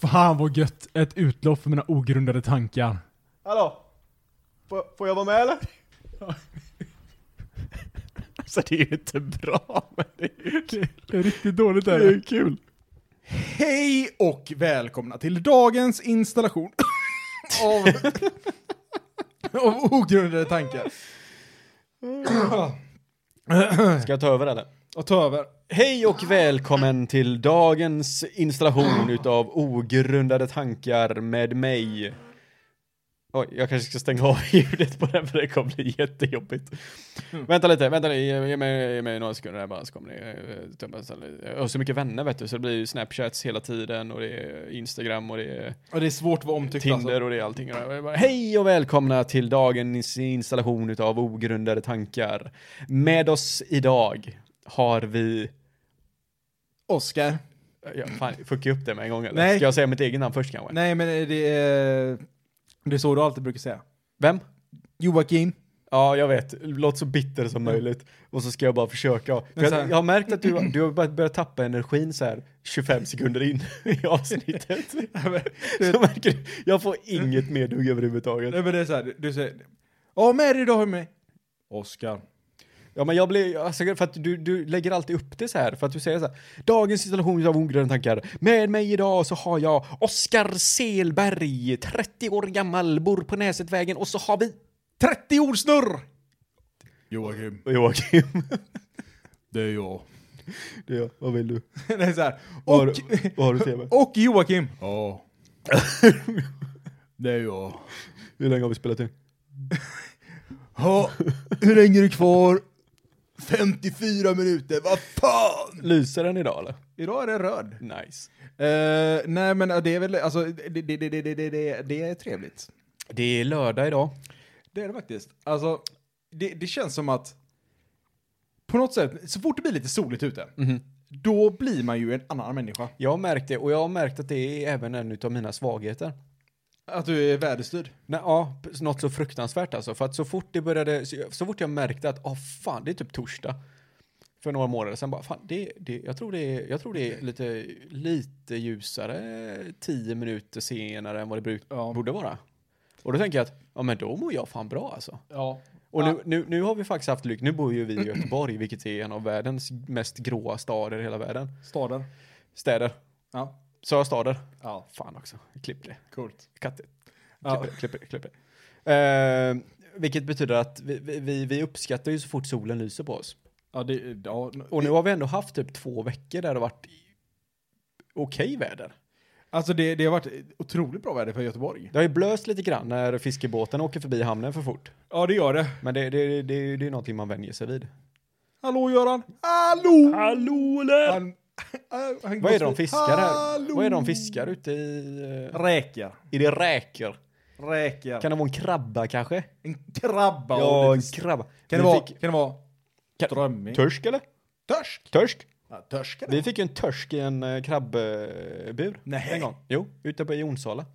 Fan vad gött! Ett utlopp för mina ogrundade tankar. Hallå? Får, får jag vara med eller? Alltså det är ju inte bra, men det är ju kul. Det är riktigt dåligt Det är ju kul. Hej och välkomna till dagens installation av, av ogrundade tankar. Ska jag ta över eller? Och ta över. Hej och välkommen till dagens installation utav ogrundade tankar med mig. Oj, jag kanske ska stänga av ljudet på den för det kommer bli jättejobbigt. Vänta lite, vänta lite, ge, ge, mig, ge mig några sekunder här bara så kommer det. eh, tömmas all- Jag har så mycket vänner vet du, så det blir ju snapchats hela tiden och det är Instagram och det är Och det är svårt att vara omtyckt alltså. Tinder och det är allting. Och det är bara, Hej och välkomna till dagens installation utav ogrundade tankar. Med oss idag har vi Oscar. Ja, fan, fuckar jag upp det med en gång eller? Nej. Ska jag säga mitt eget namn först kanske? Nej men det är, det är så du alltid brukar säga. Vem? Joakim. Ja, jag vet. Låt så bitter som möjligt. Och så ska jag bara försöka. För Men så här- jag, jag har märkt att du, du har börjat, börjat tappa energin så här 25 sekunder in i avsnittet. så märker du, jag får inget medhugg överhuvudtaget. Nej men det är så här, du säger Ja med dig idag har med Oscar. Ja, men jag blir, alltså, för att du, du lägger alltid upp det så här, för att du säger så här. Dagens installation av Ogröna tankar. Med mig idag så har jag Oskar Selberg, 30 år gammal, bor på Näsetvägen och så har vi 30 ord snurr! Joakim, Joakim. det är jag. Det är jag. Vad vill du? det är så här, Vad och, har, du- vad har du tv? och Joakim. Ja. det är jag. Hur länge har vi spelat in? Ja, hur länge är det kvar? 54 minuter, vad fan! Lyser den idag eller? Idag är det röd. Nice. Eh, nej men det är väl, alltså det, det, det, det, det, det, det är trevligt. Det är lördag idag. Det är det faktiskt. Alltså, det, det känns som att på något sätt, så fort det blir lite soligt ute, då blir man ju en annan människa. Jag har märkt det och jag har märkt att det är även en av mina svagheter. Att du är väderstyrd. Nej, ja, p- något så fruktansvärt alltså. För att så fort det började, så- så fort jag märkte att, ah fan, det är typ torsdag. För några månader sedan bara, fan, det, det, jag, tror det är, jag tror det är lite, lite ljusare tio minuter senare än vad det bruk, Ja. borde vara. Och då tänker jag att, ja men då mår jag fan bra alltså. Ja. Och Ja. nu, nu, nu har vi faktiskt haft lyck. Nu bor ju vi i Göteborg, vilket är en av världens mest gråa städer i hela världen. Staden. Städer. Ja. Sa jag stader? Ja, Fan också. Klipp det. coolt. Kattigt. Klipp Ja. det, klipp det, klipp det. Eh, vilket betyder att vi, vi- vi, vi uppskattar ju så fort solen lyser på oss. Ja, det, ja, Och nu har vi ändå haft typ två veckor där det har varit i- okej väder. Alltså det, det har varit otroligt bra väder för Göteborg. Det har ju blöst lite grann när fiskebåten åker förbi hamnen för fort. Ja, det gör det. Men det, det, det, det är ju någonting man vänjer sig vid. Hallå Göran! Hallå! Hallå eller? Han, han, han Vad går är det de så- fiskar här? Hallå! Vad är det de fiskar ute i... eh, Räkor. Är det räkor? Räkor. Kan det vara en krabba kanske? En krabba. Ja, och en lite- krabba. kan, Vi det vara, fick- kan det vara Kan- strömming? Törsk eller? Törsk? Törsk? Ja, törsk är det. Vi fick ju en törsk i en eh, krabbbur. Nej. En gång. Jo, ute på i Onsala.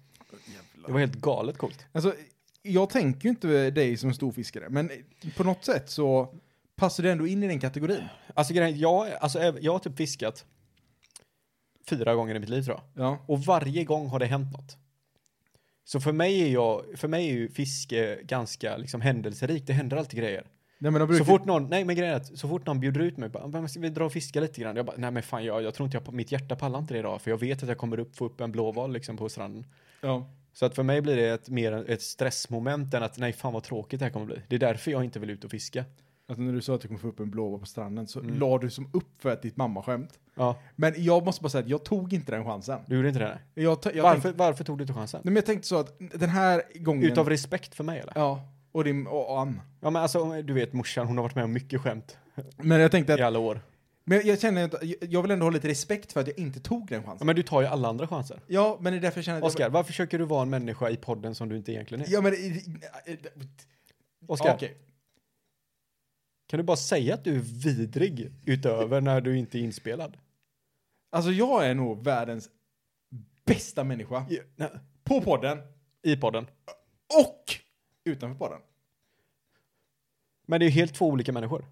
Det var helt galet coolt. Alltså, jag tänker ju inte dig som storfiskare, men på något sätt så passar du ändå in i den kategorin. Alltså grejen, jag, alltså, äv- jag har typ fiskat fyra gånger i mitt liv tror jag. Ja. Och varje gång har det hänt något. Så för mig är, jag, för mig är ju fiske ganska liksom, händelserikt. Det händer alltid grejer. Nej, men de Så brukar... fort någon, nej men grejen är att så fort någon bjuder ut mig, bara, "Men ska vi dra och fiska lite grann? Jag bara, nej men fan jag, jag tror inte jag, mitt hjärta pallar inte det idag, för jag vet att jag kommer upp, få upp en blåval liksom på stranden. Ja. Så att för mig blir det ett, mer ett stressmoment än att nej fan vad tråkigt det här kommer bli. Det är därför jag inte vill ut och fiska. Alltså, när du sa att du kommer få upp en blåva på stranden så la du som upp för att ditt mammaskämt. Ja, Men jag måste bara säga att jag tog inte den chansen. du gjorde inte det? Nej. Jag, ta- jag Varför, Tänkte, varför tog du inte chansen? nej, men jag tänkte så att den här gången... Utav respekt för mig eller? Ja. Ja, och din... Och, och Ann. men alltså du vet morsan, hon har varit med om mycket skämt Men jag tänkte att... i alla år. Men jag känner att jag- jag vill ändå ha lite respekt för att jag inte tog den Ja, chansen. men du tar ju alla andra chanser. Ja, men det är därför jag känner att... jag- Oskar, varför försöker du vara en människa i podden som du inte egentligen är? Ja, men... Oskar, Okej. kan du bara säga att du är vidrig utöver när du inte är inspelad? Alltså jag är nog världens bästa människa. I, nej, På podden I podden. och utanför podden. Men det är ju helt två olika människor.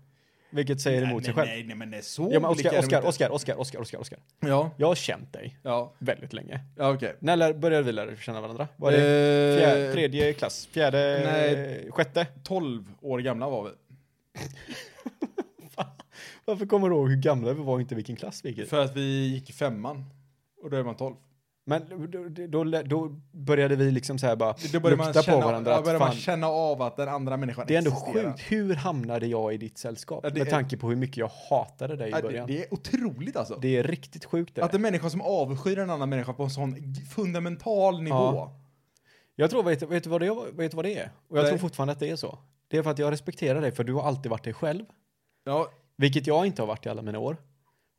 Vilket säger emot sig nej, själv. nej, nej, men det är så Ja, men olika är Oskar, de Oskar, inte. Oskar, Oskar, Oskar, Oskar, Oskar. Ja, Jag har känt dig ja, väldigt länge. ja okej. När lär- började vi lära känna varandra? Var det fjär, Eh, tredje klass? Fjärde? nej. Sjätte? 12 år gamla var vi. Varför kommer du ihåg hur gamla vi var och inte vilken klass vi gick i? För att vi gick i femman. Och då är man 12. Men då, då, då, då började vi liksom så här bara Då börjar man lukta känna, på varandra. ja, att börjar fan, man känna av att den andra människan det är ändå existerar. sjukt, hur hamnade jag i ditt sällskap? Ja, det Med är- tanke på hur mycket jag hatade dig i Ja, Äh, det, början. Det, det är otroligt alltså. är riktigt sjukt det. Att en människa som avskyr en annan människa på en sån g- fundamental nivå. Ja. Jag tror, vet, vet, du vad det, vet du vad det är? Och jag Nej. tror fortfarande att det är så. Det är för att jag respekterar dig, för du har alltid varit dig själv. Ja, Vilket jag inte har varit i alla mina år.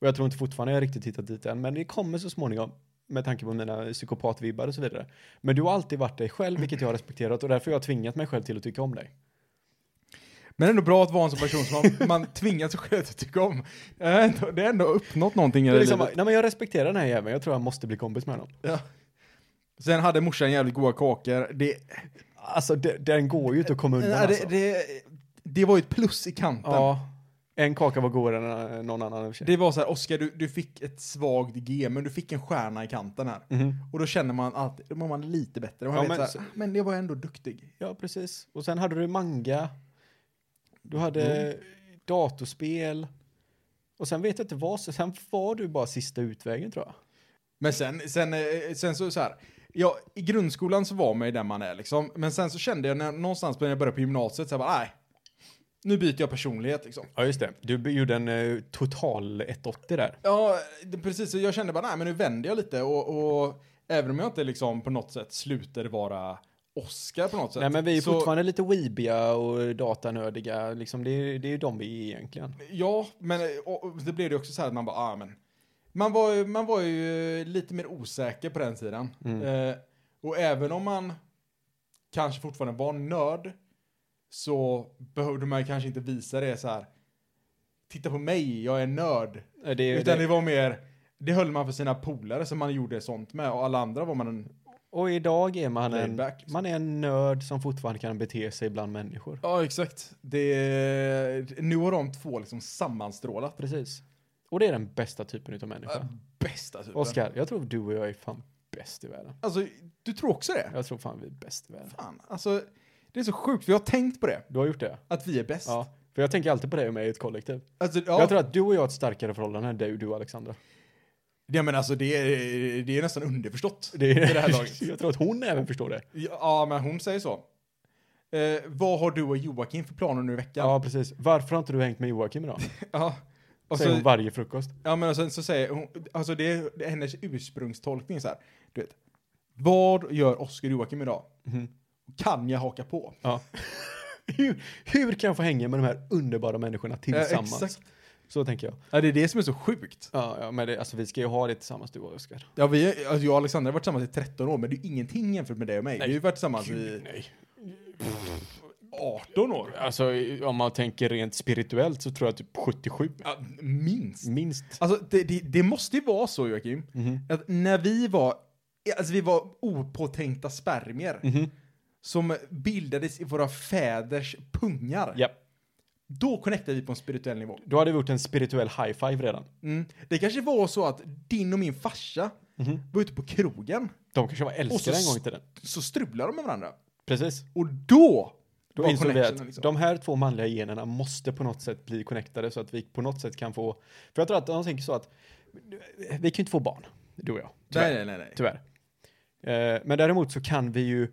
Och jag tror inte fortfarande jag riktigt hittat dit än, men det kommer så småningom. Med tanke på mina psykopatvibbar och så vidare. Men du har alltid varit dig själv, vilket jag har respekterat. Och därför har jag tvingat mig själv till att tycka om dig. Men det är ändå bra att vara en sån person som man, man tvingar sig själv att tycka om. Det är ändå, det är ändå uppnått någonting i Det är det liksom, livet. nej men jag respekterar den här jäveln, jag tror jag måste bli kompis med honom. Ja. Sen hade morsan jävligt goda kakor. Det, Alltså de- den går ju inte att komma undan nej, alltså. det, det, det var ju ett plus i kanten. Ja, en kaka var godare än eh, någon annan i och för sig. Det var så här, Oskar, du, du fick ett svagt G, men du fick en stjärna i kanten här. Och då känner man att då mår man lite bättre. Man Ja, vet men men, så så- här, "Ah, men det var ändå duktig. Ja, precis. Och sen hade du manga. Du hade Mm. datorspel. Och sen vet jag inte vad, så- sen var du bara sista utvägen tror jag. Men sen, sen, eh, sen så, så här. Ja, I grundskolan så var man ju där man är liksom. Men sen så kände jag när, någonstans när jag började på gymnasiet så här, bara, nej. Nu byter jag personlighet liksom. Ja, just det. Du gjorde en eh, total 180 där. Ja, det, precis. Så Jag kände bara, nej men nu vänder jag lite och, och även om jag inte liksom på något sätt slutar vara Oscar på något sätt. Nej, men vi är ju så, fortfarande lite weebiga och datanördiga. Liksom, det, är, det är ju de vi är egentligen. Ja, men eh, och, och det blev det också så här att man bara, ah, men. Man var, ju- man var ju lite mer osäker på den tiden. Mm. Eh, och även om man kanske fortfarande var nörd så behövde man ju kanske inte visa det så här. Titta på mig, jag är nörd. Eh, Det, är- Utan det, det var mer, det höll man för sina polare som man gjorde sånt med och alla andra var man en och idag är man Laid en, back, liksom. man är en nörd som fortfarande kan bete sig bland människor. Ja, exakt. Det, nu har de två liksom sammanstrålat. Precis. Och det är den bästa typen utav människa. Bästa typen. Oskar, jag tror du och jag är fan bäst i världen. Alltså, du tror också det? Jag tror fan vi är bäst i världen. Fan, alltså, det är så sjukt, för jag har tänkt på det. Du har gjort det? Att vi är bäst. Ja. För jag tänker alltid på dig och mig i ett kollektiv. Alltså, ja. Jag tror att du och jag har ett starkare förhållande än du och du Alexandra. ja, men alltså det är, det är nästan underförstått. Det är i det här laget. jag tror att hon även förstår det. Ja, men hon säger så. Eh, vad har du och Joakim för planer nu i veckan? Ja, precis. Varför har inte du hängt med Joakim idag? Ja. Och Säger hon så, varje frukost. ja, men och sen så säger hon, alltså det är, det är hennes ursprungstolkning så här. Du vet, vad gör Oskar och Joakim idag? Mhm. Kan jag haka på? Ja. hur, hur kan jag få hänga med de här underbara människorna tillsammans? exakt. Så tänker jag. Ja, det är det som är så sjukt. Ja, ja men det, alltså, vi ska ju ha det tillsammans du och Oskar. Ja, vi, är- alltså jag och Alexander har varit tillsammans i 13 år, men det är ju ingenting jämfört med dig och mig. Vi har ju varit tillsammans i Nej. 18 år. Alltså om man tänker rent spirituellt så tror jag typ 77. Ja, minst. Minst. Alltså, det, det, det måste ju vara så, Joakim, Mhm. att när vi var, alltså vi var opåtänkta spermier Mhm. som bildades i våra fäders pungar, Ja. då connectade vi på en spirituell nivå. Då hade vi gjort en spirituell high five redan. Mm. Det kanske var så att din och min farsa Mhm. var ute på krogen, De kanske var Och så älskare en gång i tiden. så strulade de med varandra. Precis. Och då, Då var insåg vi connectionen att liksom. de här två manliga generna måste på något sätt bli connectade så att vi på något sätt kan få... För jag tror att de tänker så att vi kan ju inte få barn, du och jag. Tyvärr. Nej, nej, nej. nej. Tyvärr. Eh, Men däremot så kan vi ju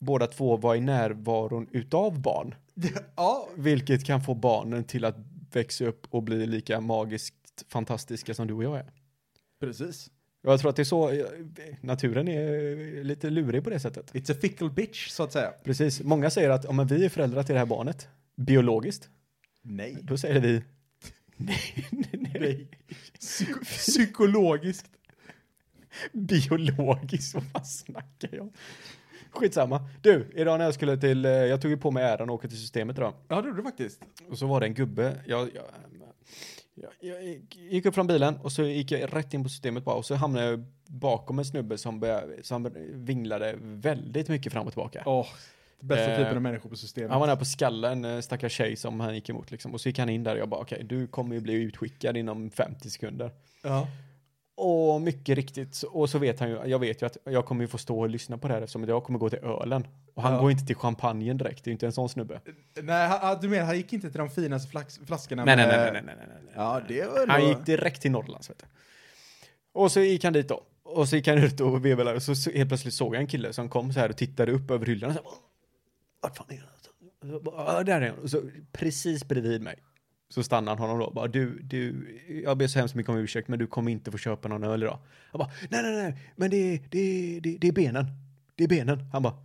båda två vara i närvaron utav barn. Ja, Vilket kan få barnen till att växa upp och bli lika magiskt fantastiska som du och jag är. precis. Jag tror att det är så, eh, naturen är eh, lite lurig på det sättet. It's a fickle bitch, så att säga. Precis. Många säger att om vi är föräldrar till det här barnet, biologiskt, Nej. då säger vi nej, nej, nej. Psykologiskt. biologiskt, vad fan snackar jag om? Skitsamma. Du, idag när jag skulle till, eh, jag tog ju på mig äran och åka till systemet idag. Ja, det gjorde du faktiskt. Och så var det en gubbe, jag, jag, jag, jag gick- gick upp från bilen och så gick jag rätt in på systemet bara och så hamnade jag bakom en snubbe som, började, som vinglade väldigt mycket fram och tillbaka. Åh, Bästa Eh, typen av människor på systemet. Han var där på skallen, en stackars tjej som han gick emot liksom. Och så gick han in där och jag bara okej, du kommer ju bli utskickad inom 50 sekunder. ja. Och mycket riktigt, och så vet han ju, jag vet ju att jag kommer ju få stå och lyssna på det här eftersom jag kommer gå till ölen. Och han Ja. går inte till champagnen direkt, det är ju inte en sån snubbe. Nej, han- han, du menar han gick inte till de finaste flax, flaskorna? Nej, nej, med- nej, nej, nej, nej, nej, nej. Ja, det var Han ändå- gick direkt till Norrlands, vet du. Och så gick han dit då. Och så gick han ut och vevade och så så- helt plötsligt såg jag en kille som kom så här och tittade upp över hyllorna. Så här, Vart fan är han? Så bara, "Ja, Där är han. Och så precis bredvid mig. Så stannade han honom då. Bara, du, du, jag ber så hemskt mycket om ursäkt men du kommer inte få köpa någon öl idag. Jag bara, nej, nej, nej, men det, det, det, det är benen. Det är benen. Han bara,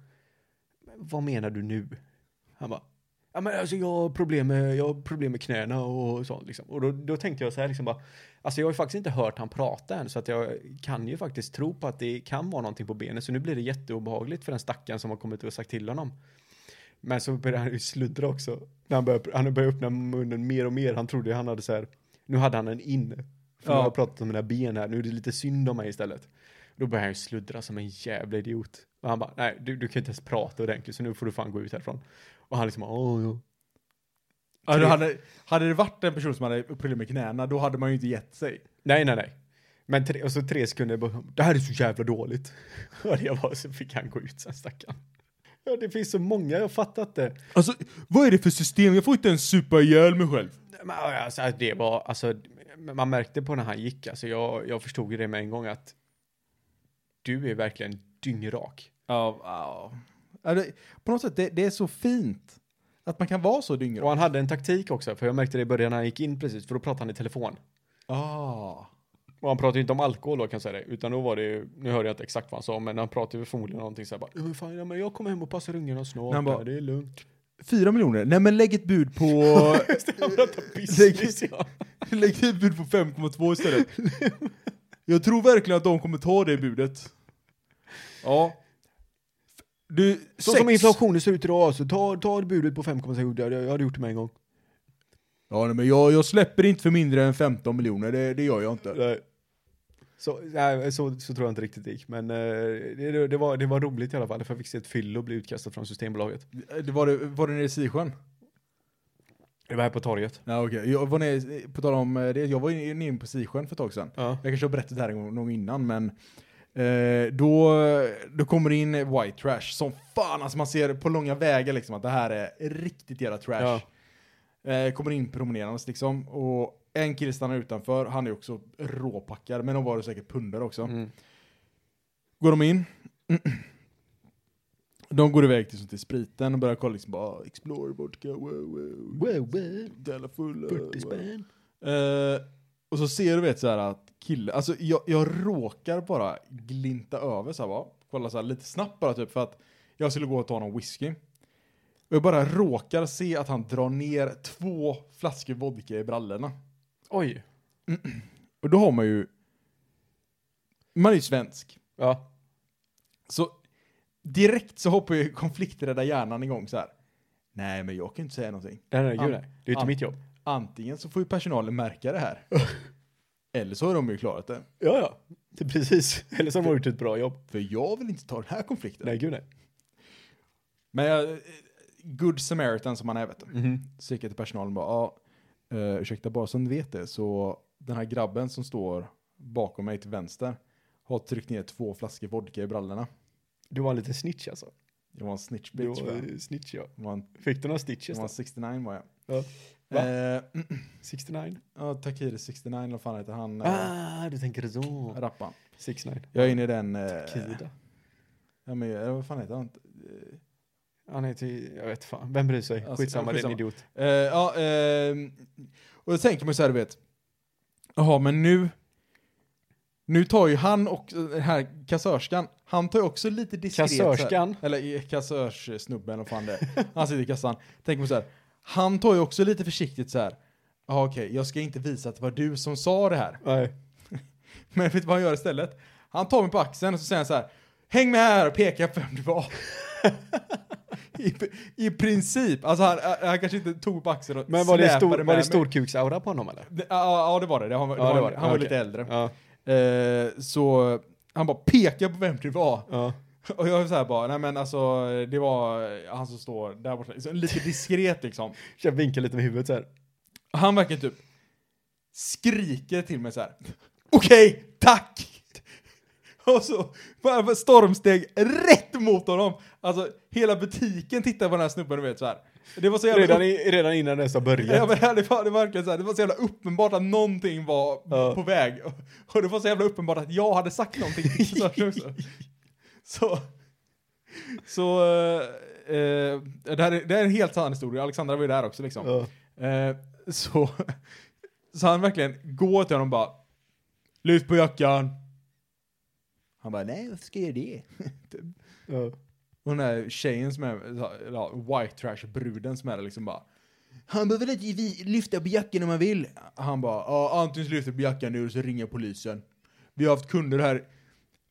vad menar du nu? Han bara, ja men alltså jag har problem med, jag har problem med knäna och sånt liksom. Och då, då tänkte jag så här liksom bara, alltså jag har ju faktiskt inte hört han prata än så att jag kan ju faktiskt tro på att det kan vara någonting på benet. Så nu blir det jätteobehagligt för den stackaren som har kommit och sagt till honom. Men så började han ju sluddra också. När han, började, han började öppna munnen mer och mer. Han trodde ju han hade så här, nu hade han en in. För Ja. nu har jag pratat om mina ben här, nu är det lite synd om mig istället. Då började han ju sluddra som en jävla idiot. Och han bara, nej du, du kan ju inte ens prata ordentligt så nu får du fan gå ut härifrån. Och han liksom, åh ja. Ja, då hade, hade det varit en person som hade problem med knäna, då hade man ju inte gett sig. Nej, nej, nej. Men tre, och så tre sekunder bara, det här är så jävla dåligt. Och jag bara, så fick han gå ut sen stackaren. Ja, det finns så många, jag har fattat det. Alltså, vad är det för system? Jag får inte ens supa ihjäl mig själv. Men, alltså, att det var, alltså, man märkte på när han gick, alltså jag, jag förstod ju det med en gång att du är verkligen dyngrak. Ja, ja. Ja, det- På något sätt, det, det är så fint att man kan vara så Och dyngrak. han hade en taktik också, för jag märkte det i början när han gick in precis, för då pratade han i telefon. Ah. Och han pratade ju inte om alkohol då kan jag säga det, utan då var det ju, nu hörde jag inte exakt vad han sa, men han pratade ju förmodligen någonting såhär bara, "Ja, men fan, ja, men jag kommer hem och passar ungarna snart, Han bara- ja, det är lugnt. Fyra miljoner? Nej men lägg ett bud på... Han pratar business ja. lägg ett bud på 5,2 istället. Jag tror verkligen att de kommer ta det budet. Ja. Du, Så sex. som inflationen ser ut idag, så ta, ta budet på 5,6, jag, jag hade gjort det med en gång. Ja nej, men jag, jag släpper inte för mindre än 15 miljoner, det, det gör jag inte. Så, nej, så, så tror jag inte riktigt det gick, men eh, det, det- det, var, det var roligt i alla fall, för jag fick se ett fylle och bli utkastad från Systembolaget. Det var, det, var det nere i Sisjön? Det var här på torget. Ja okej, jag var nere, på tal om eh, det, jag var ju nere på Sisjön för ett tag sedan. Ja. Jag kanske har berättat det här en gång- någon gång innan, men eh, då, då kommer det in white trash som fan, alltså man ser på långa vägar liksom att det här är riktigt jävla trash. Eh, kommer in promenerandes liksom, och en kille stannar utanför, han är också råpackad, men de var det säkert pundare också. Mm. Går de in, de går iväg till, till spriten och börjar kolla liksom bara, explore vodka, wow, wow, Wow, wow, jävla fulla. 40 wow." spänn. Eh, och så ser du vet så här att kille, alltså jag, jag råkar bara glinta över så här va, kolla så här lite snabbt bara typ för att jag skulle gå och ta någon whisky. Och jag bara råkar se att han drar ner två flaskor vodka i brallorna. Oj. Och då har man ju, man är ju svensk. Ja. Så direkt så hoppar ju konflikträdda hjärnan igång så här. Nej men jag kan inte säga någonting. Nej, nej, gud, An- nej. Det är ju inte an- mitt jobb. Antingen så får ju personalen märka det här. Eller så har de ju klarat det. Ja, ja. Det är precis. Eller så har de gjort ett bra jobb. För jag vill inte ta den här konflikten. Nej, gud nej. Men jag, eh, good samaritan som han är vet du. Så gick jag till personalen och bara, ja, eh, ursäkta bara så ni vet det, så den här grabben som står bakom mig till vänster har tryckt ner två flaskor vodka i brallorna. Du var en liten snitch alltså. Jag var en snitch Du bitch. var tror jag. eh, snitch ja. Jag var en, Fick du några jag stitches var en då? 69 var jag. Ja. Va? Eh, 69? ja, Takiri 69, eller vad fan heter han? Eh, Ah, du tänker så. rappan. 69. Jag är inne i den... Eh, Kida. ja, men, eh, vad fan heter han? Eh, Han heter, jag vet fan, vem bryr sig? Alltså, Skitsamma, det är en skitsamma. idiot. Eh, ja, ehm, och då tänker man ju så här, du vet. Jaha, men nu... Nu tar ju han och eh, den här kassörskan, han tar ju också lite diskret. så här. Kassörskan? Eller eh, kassörssnubben, eller vad fan det är. Han sitter i kassan. Tänker man så här, han tar ju också lite försiktigt så här. Ja, okej, jag ska inte visa att det var du som sa det här. Nej. Men vet du vad han gör istället? Han tar mig på axeln och så säger han så här. Häng med här och peka på vem du var. I, I princip. Alltså han, han kanske inte tog mig på axeln och Men var det, stor, släpade var med det mig. storkuksaura på honom eller? Det- Ja, ja, det var det. det, han, var- det Ja, var, det var det. han var Okej. lite äldre. Ja. Eh, så han bara pekar på vem det var. ja. Och jag är så här bara, nej men alltså det var han som står där borta. Så Lite diskret liksom. Jag vinkar lite med huvudet så här. Han verkar typ skriker till mig så här. Okej, tack! Och så bara bara stormsteg rätt mot honom. Alltså hela butiken tittar på den här snubben, du vet så här. Det var så jävla... Redan, i, redan innan det ens har Ja, börjat. men det, var, det, var verkligen så här, det var så jävla uppenbart att någonting var Ja. på väg. Och, och det var så jävla uppenbart att jag hade sagt någonting till Sören också. Så, så eh, eh, det, här är, det här är en helt sann historia. Alexandra var ju där också liksom. Ja. Eh, så, så han verkligen går till honom och bara Lyft på jackan. Han bara nej varför ska jag göra det? Ja. Och den där tjejen som är, eller ja, white trash bruden som är där liksom bara Han behöver inte vi- lyfta på jackan om han vill. Han bara ja antingen så lyfter jag på jackan nu eller så ringer jag polisen. Vi har haft kunder här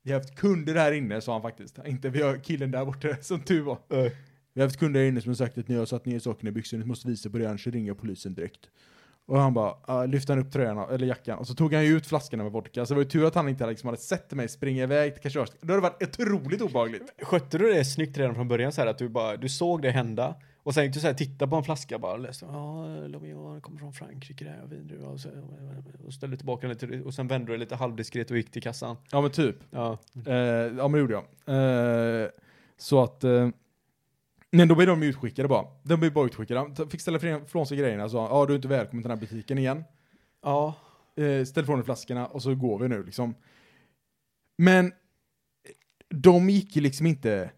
Vi har haft kunder här inne sa han faktiskt. Inte vi har killen där borta som tur var. Ja. Vi har haft kunder här inne som har sagt att ni har satt ner sakerna i byxorna, ni måste visa på det annars ringer jag polisen direkt. Och han bara, ah, lyfte han upp tröjan, eller jackan, och så tog han ju ut flaskorna med vodka. Så det var ju tur att han inte hade, liksom, hade sett mig springa iväg till kassörskan. Då hade det varit otroligt obehagligt. Skötte du det snyggt redan från början så här att du bara, du såg det hända och sen gick du så här, titta på en flaska bara och läste, ja, Lomillon kommer från Frankrike där och vindruva och så och ställde tillbaka den lite och sen vände du lite halvdiskret och gick till kassan. Ja men typ. Ja. Eh, ja men det gjorde jag. Eh, så att... Eh, men då blir de utskickade bara. De blir bara utskickade. De Fick ställa ifrån sig grejerna. Sa, ja du är inte välkommen till den här butiken igen. Ja. eh, ställ ifrån dig flaskorna och så går vi nu liksom. Men de gick ju liksom inte,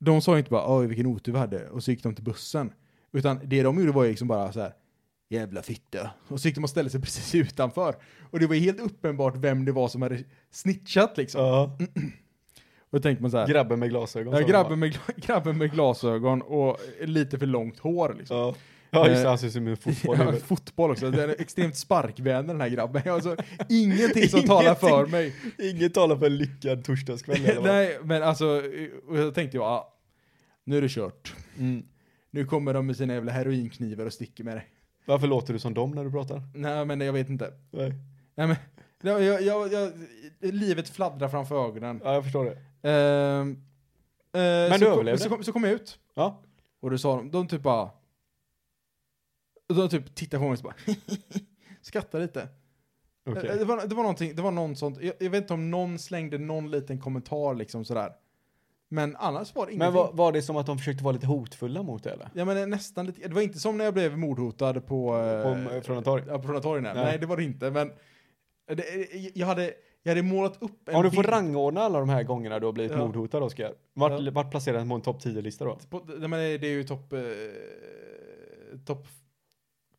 de sa ju inte bara oj vilken otur vi hade och så gick de till bussen. Utan det de gjorde var ju liksom bara så här jävla fitta. Och så gick de och ställde sig precis utanför. Och det var ju helt uppenbart vem det var som hade snitchat liksom. ja. Och då tänkte man så här, Grabben med glasögon. ja, sa de bara. grabben, med, gla- grabben med glasögon och lite för långt hår liksom. Ja. Ja just det, han ser ut som en fotboll. i Ja, huvudet. fotboll också, den är extremt sparkvänlig den här grabben. Alltså, ingenting som talar för Ingenting. mig. Inget talar för en lyckad torsdagskväll eller vad? Nej, men alltså, och jag tänkte jag, ah, nu är det kört. Mm. Nu kommer de med sina jävla heroinknivar och sticker med dig. Varför låter du som dem när du pratar? Nej, men jag vet inte. Nej. Nej, men, jag, jag, jag, jag, livet fladdrar framför ögonen. Ja, jag förstår det. Ehm, eh, du så kom- överlevde. Så kom, så kom jag ut. Ja. Och då sa de, de typ bara... De typ tittade på mig och så bara... skrattade lite. Okej. Eh, Det, var, det var någonting, det var någon sånt. Jag, jag vet inte om någon slängde någon liten kommentar liksom sådär. Men annars var det ingenting. Men var, var det som att de försökte vara lite hotfulla mot dig eller? Ja men det är nästan lite, det var inte som när jag blev mordhotad på... eh, Om, från ett torg? ja, på Pronatorgen. Nej. Nej. nej det var det inte men... Det, jag, hade, jag hade målat upp en Om du får bild rangordna alla de här gångerna du har blivit Ja. mordhotad Oskar. Vart, Ja. vart placerar den på en topp 10-lista då? På, nej, men det är ju topp... Eh, topp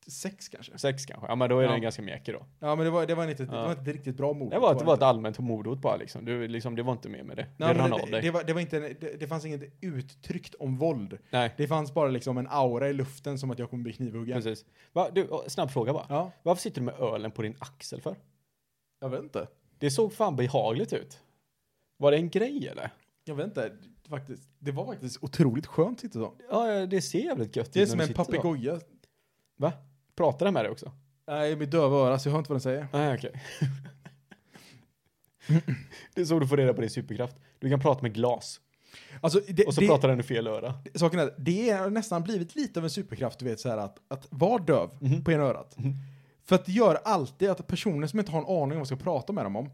sex kanske. Sex kanske? Ja men då är Ja. den ganska mjäkig då. Ja men det var, det var, inte, det Ja. var inte riktigt bra mord. Det var, det var ett allmänt mordhot bara liksom. Du, liksom. Det var inte mer med det. Nej, det men rann det, av dig. det, var, det, var inte, det, det fanns inget uttryckt om våld. Nej, Det fanns bara liksom en aura i luften som att jag kommer bli knivhuggen. precis. Va, du, å, snabb fråga bara. Ja, Varför sitter du med ölen på din axel för? jag vet inte. Det såg fan behagligt ut. Var det en grej eller? Jag vet inte, faktiskt. Det var faktiskt otroligt skönt att sitta så. Ja, ja, det ser jävligt gött ut Det är när som du en sitter så. papegoja. Va? Pratar den med dig också? Nej, mitt döva öra, så jag hör inte vad den säger. Nej, Ah, okej. det är så du får reda på din superkraft. Du kan prata med glas. Alltså, det, Och så det, pratar den i fel öra. saken är, det har nästan blivit lite av en superkraft, du vet, så här att, att vara döv Mhm. på ena örat. För att det gör alltid att personer som inte har en aning om vad jag ska prata med dem om,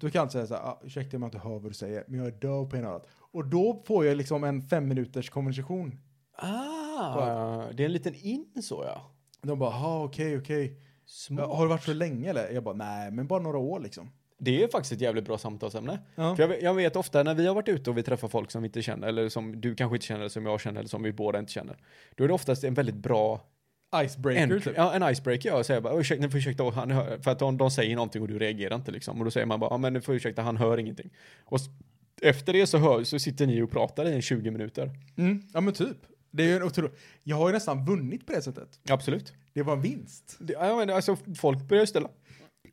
då kan jag säga så här, ah, ursäkta om jag inte hör vad du säger, men jag är döv på ena örat. Och då får jag liksom en fem minuters konversation. Ah, det är en liten in så ja. De bara, ah, okej, okej. Smart. Har du varit så länge eller? Jag bara, nej, men bara några år liksom. Det är faktiskt ett jävligt bra samtalsämne. Ja. För jag, jag vet ofta när vi har varit ute och vi träffar folk som vi inte känner, eller som du kanske inte känner, eller som jag känner, eller som vi båda inte känner. Då är det oftast en väldigt bra Icebreaker, entry- typ. ja, en icebreaker. Ja, och säga bara, ursäkta, ni får ursäkta, han hör, för att de, de säger någonting och du reagerar inte liksom. Och då säger man bara, ja men du får ursäkta, han hör ingenting. Och s- efter det så, hör, så sitter ni och pratar i en 20 minuter. Mm. Ja, men typ. Det är ju en otro... Jag har ju nästan vunnit på det sättet. Absolut. Det var en vinst. Det, ja, men alltså, folk börjar ställa.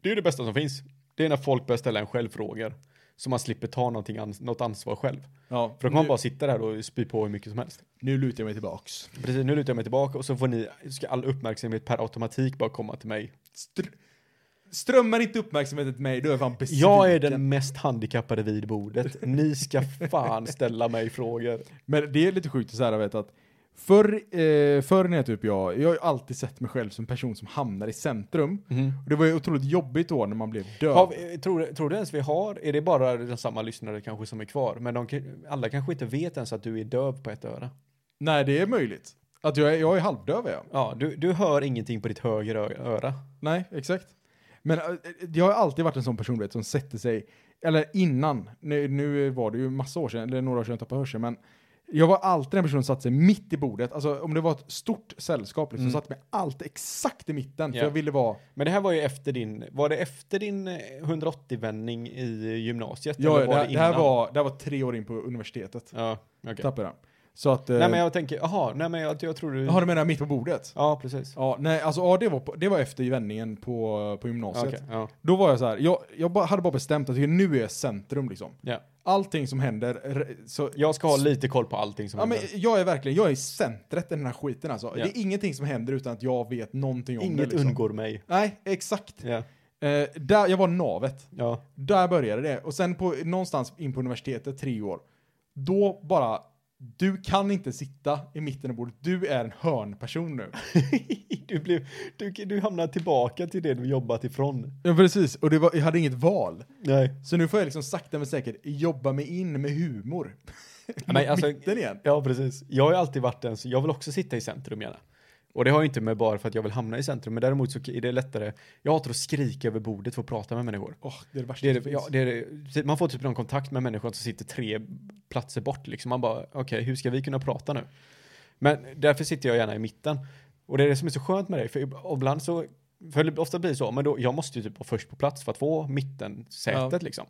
Det är ju det bästa som finns. Det är när folk börjar ställa en självfrågor. Så man slipper ta någonting ans- något ansvar själv. Ja, För då kan nu- man bara sitta där och spy på hur mycket som helst. Nu lutar jag mig tillbaks. Precis, nu lutar jag mig tillbaka och så får ni, ska all uppmärksamhet per automatik bara komma till mig. Str- strömmar inte uppmärksamheten till mig, då är jag fan besviken. Jag är den mest handikappade vid bordet. Ni ska fan ställa mig frågor. Men det är lite sjukt att säga, vet att förr, eh, förr när jag typ jag, jag har ju alltid sett mig själv som en person som hamnar i centrum. Och det var ju otroligt jobbigt då när man blev döv. Har vi, tror, tror du ens vi har, är det bara den samma lyssnare kanske som är kvar? Men de, kan- alla kanske inte vet ens att du är döv på ett öra. Nej, det är möjligt. Att jag är, jag är halvdöv är jag. Ja, du, du hör ingenting på ditt högra ö- öra. Nej, exakt. Men eh, jag har alltid varit en sån person vet, som sätter sig, eller innan, nu, nu var det ju massa år sedan, eller några år sedan jag tappade hörseln, men jag var alltid den personen som satte sig mitt i bordet. Alltså om det var ett stort sällskap liksom, satte mig alltid exakt i mitten, Mm. Ja. för jag ville vara... Men det här var ju efter din, var det efter din eh, 180-vändning i gymnasiet? Ja, eller det, var det, här innan? var, det här var tre år in på universitetet. Ja, okej. Tappade den. Så att... äh, Nej men jag tänker, jaha, nej men jag, jag tror du... Har du menar mitt på bordet? Ja, precis. Ja, nej, alltså ja, det var, på, det var efter vändningen på, på gymnasiet. Okej, ja. Då var jag så här, jag, jag bara, hade bara bestämt att nu är jag centrum liksom. ja. Allting som händer, re- så... Jag ska ha lite koll på allting som Ja, men händer. jag är verkligen, jag är i centret i den här skiten alltså. Ja. Det är ingenting som händer utan att jag vet någonting om det Inget liksom. undgår mig. Nej, exakt. Ja. Eh, där, jag var navet. ja. Där började det. Och sen på, någonstans in på universitetet, tre år, då bara, du kan inte sitta i mitten av bordet, du är en hörnperson nu. du, blev, du, du hamnar tillbaka till det du jobbat ifrån. Ja, precis. Och det var, jag hade inget val. Nej. Så nu får jag liksom sakta men säkert jobba mig in med humor. Ja, Mot men alltså- mitten igen. Ja, precis. Jag har ju alltid varit den, så jag vill också sitta i centrum gärna. Och det har ju inte med bara för att jag vill hamna i centrum, men däremot så är det lättare. Jag hatar att skrika över bordet för att prata med människor. Åh, det är det värsta Det är som det, finns. ja, det är det. Man får typ någon kontakt med människor som sitter tre platser bort. Liksom. Man bara, okej, hur ska vi kunna prata nu? Men därför sitter jag gärna i mitten. Och det är det som är så skönt med dig, för ibland så, för ofta blir det så, men då, jag måste ju typ vara först på plats för att få mittensätet Ja. liksom.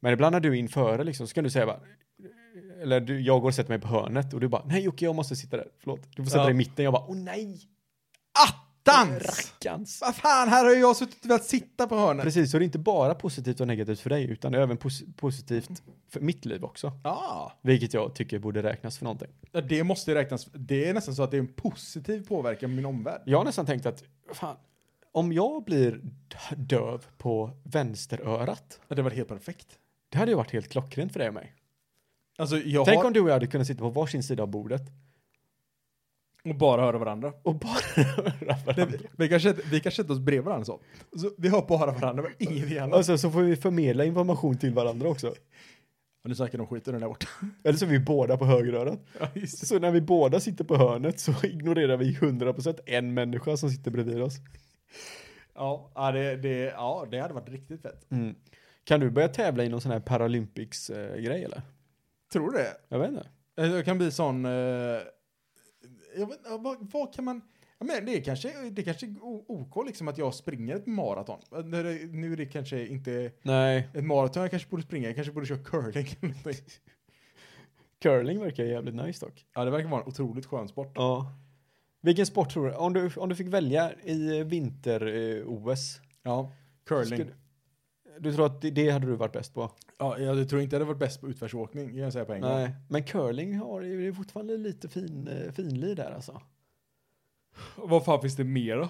Men ibland när du är inför liksom, så kan du säga bara, eller du, jag går och sätter mig på hörnet och du bara, nej Jocke, jag måste sitta där, förlåt. Du får sätta Ja. dig i mitten, jag bara, åh nej, Attans! rackarns. Vad fan, här har ju jag suttit och velat sitta på hörnet. Precis, så det är inte bara positivt och negativt för dig, utan det är även pos- positivt för mitt liv också. Ja, Vilket jag tycker borde räknas för någonting. Ja, det måste ju räknas. Det är nästan så att det är en positiv påverkan på min omvärld. Jag har nästan tänkt att, fan, om jag blir d- döv på vänsterörat, Ja, Det var helt perfekt. det hade ju varit helt klockrent för dig och mig. Alltså, jag Tänk har... om du och jag hade kunnat sitta på varsin sida av bordet Och bara höra varandra. och bara röra Det, varandra. vi- vi, kan sätta, vi kan sätta oss bredvid varandra så. så vi hör bara varandra, men ingenting annat. Alltså så får vi förmedla information till varandra också. Och nu snackar de skiten den där borta. Eller så är vi båda på högerörat. Ja, just det. Så när vi båda sitter på hörnet så ignorerar vi 100% en människa som sitter bredvid oss. Ja, ja, det, det, ja, det hade varit riktigt fett. Mm. Kan du börja tävla i någon sån här Paralympics-grej eller? Tror du det? Jag vet inte. Eh, Jag kan bli sån... Eh, jag vet, ja, vad, vad kan man... Ja, men det är kanske, det är kanske o- OK liksom att jag springer ett maraton. Eh, när det- Nu är det kanske inte Nej. ett maraton jag kanske borde springa. Jag kanske borde köra curling. eller någonting. Curling verkar jävligt nice dock. ja, det verkar vara en otroligt skön sport. Ja. Vilken sport tror du, om du, om du fick välja i eh, vinter-OS? Ja, curling. du tror att det, det hade du varit bäst på? Ja, jag tror inte jag hade varit bäst på utförsåkning, kan jag säga på en gång. Nej. Men curling har ju det är fortfarande lite fin, eh, finlir där alltså. Vad fan finns det mer då?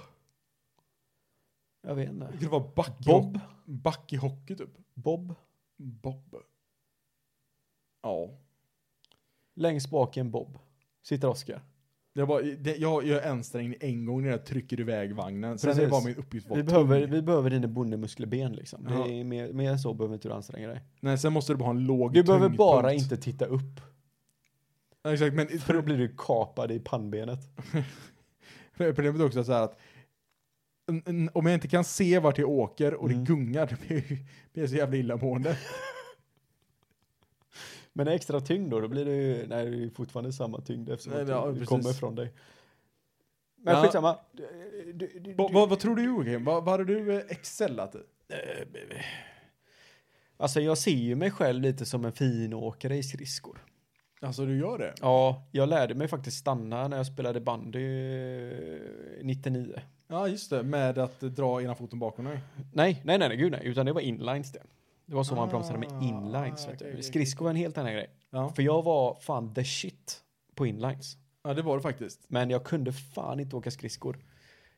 Jag vet Det inte. kunde vara back i, hockey- Bob? back i hockey typ. Bob? Bob. Ja. Längst bak i en bob. Sitter Oskar. Jag, bara, det, jag, jag är ansträngd en gång när jag trycker iväg vagnen. Sen är det Precis. bara min uppgift att vara Vi behöver, tung. vi behöver dina bondemuskelben liksom. Ja. Det är mer, mer än så behöver inte du anstränga dig. Nej, sen måste du bara ha en låg Du behöver tyngdpunkt. bara inte titta upp. Ja, Exakt, men För då blir du kapad i pannbenet. problemet är också så här att n- n- om jag inte kan se vart jag åker och Mm. det gungar, då blir jag ju- blir jag så jävla illamående. Men det är extra tyngd då, då blir det ju, nej det är ju fortfarande samma tyngd eftersom Nej, att det ja, det precis. kommer från dig. Men Ja. skitsamma. Du, du, du, Va, va, vad tror du Joakim? Va, vad hade du eh, excellat i? Alltså jag ser ju mig själv lite som en finåkare i skridskor. Alltså du gör det? Ja, jag lärde mig faktiskt stanna när jag spelade bandy eh, 99. Ja, just det. Med att eh, dra ena foten bakom dig. Nej, nej, nej, nej, gud nej, utan det var inlines det. Det var så man bromsade med Ah, inlines. okej, vet okej, du. okej. Skridskor var en helt annan grej. Ja. För jag var fan the shit på inlines. ja, det var det faktiskt. Men jag kunde fan inte åka skridskor.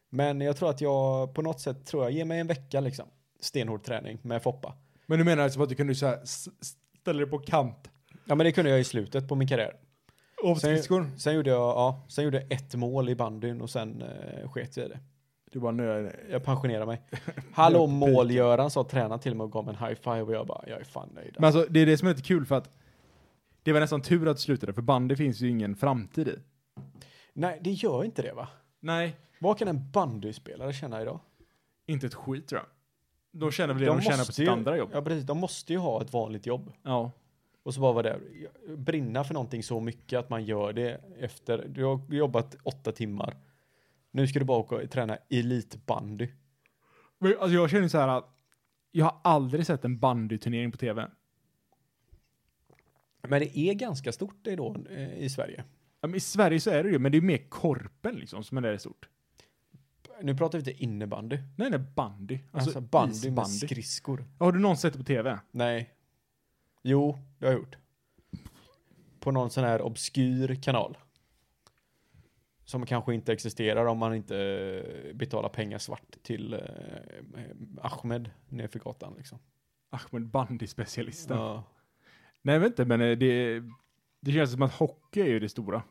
Men jag tror att jag på något sätt tror jag, ge mig en vecka liksom. Stenhård träning med Foppa. Men du menar alltså att du kunde så här s- ställa dig på kant? Ja men det kunde jag i slutet på min karriär. Av Sen- skridskon? Sen gjorde jag, ja, sen gjorde jag ett mål i bandyn och sen eh, sket jag i det. Du bara, nu är det. Jag pensionerar mig. Hallå mål-Göran sa tränaren till mig och gav mig en high five och jag bara, jag är fan nöjd. Men alltså, det är det som är lite kul för att det var nästan tur att du slutade, för bandy finns ju ingen framtid i. Nej, det gör inte det va? Nej, Vad kan en bandyspelare känna idag? inte ett skit tror jag. De känner väl det de, tjänar på måste sitt ju, andra jobb. Ja, precis. De måste ju ha ett vanligt jobb. Ja. Och så bara vara där. Brinna för någonting så mycket att man gör det efter. Du har jobbat åtta timmar. Nu ska du bara åka och träna elitbandy. Men, alltså, jag känner ju så här att jag har aldrig sett en bandyturnering på tv. Men det är ganska stort idag eh, i Sverige. Ja, men I Sverige så är det ju, men det är ju mer korpen liksom som är det stort. Nu pratar vi inte innebandy. Nej, nej, bandy. Alltså, Alltså, bandy med isbandy. skridskor. Har du någonsin sett det på tv? Nej. Jo, det har jag gjort. På någon sån här obskyr kanal. Som kanske inte existerar om man inte eh, betalar pengar svart till eh, Ahmed nerför gatan liksom. Ahmed, bandyspecialisten. Ja. Nej, jag vet inte, men eh, det, det känns som att hockey är ju det stora.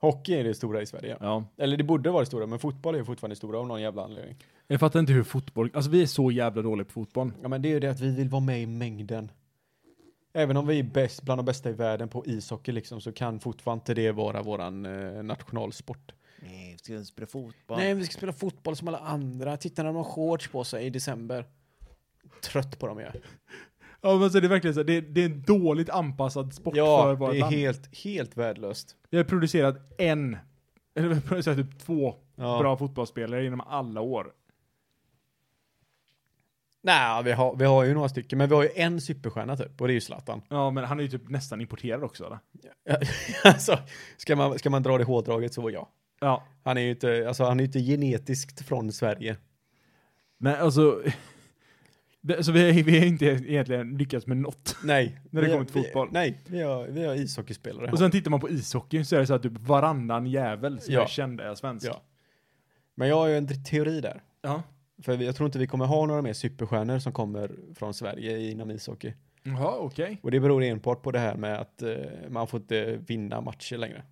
Hockey är det stora i Sverige. Ja. Eller det borde vara det stora, men fotboll är fortfarande det stora av någon jävla anledning. Jag fattar inte hur fotboll, alltså vi är så jävla dåliga på fotboll. Ja men det är ju det att vi vill vara med i mängden. Även om vi är bäst, bland de bästa i världen på ishockey liksom, så kan fortfarande inte det vara våran eh, nationalsport. Nej, vi ska spela fotboll. Nej, vi ska spela fotboll som alla andra. Titta när de har shorts på sig i december. Trött på dem jag. Ja men så är det är verkligen så, här, det, det är en dåligt anpassad sport för Ja, vårt det är land. helt, helt värdelöst. Vi har producerat en, eller vi har producerat typ två Ja. bra fotbollsspelare genom alla år. Nej, vi har, vi har ju några stycken, men vi har ju en superstjärna typ, och det är ju Zlatan. Ja men han är ju typ nästan importerad också eller? alltså, ska man, ska man dra det hårdraget så ja. Ja. Han är ju inte, alltså, han är ju inte genetiskt från Sverige. Men alltså, det, så vi, vi har inte egentligen lyckats med något. Nej. När det vi- kommer till vi- fotboll. Nej, vi har, vi har ishockeyspelare. Och sen tittar man på ishockeyn så är det så att typ varannan jävel som Ja. är känd är svensk. ja. Men jag har ju en teori där. Ja. För vi- jag tror inte vi kommer ha några mer superstjärnor som kommer från Sverige inom ishockey. Jaha, okej. Och det beror enbart på det här med att eh, man får inte vinna matcher längre.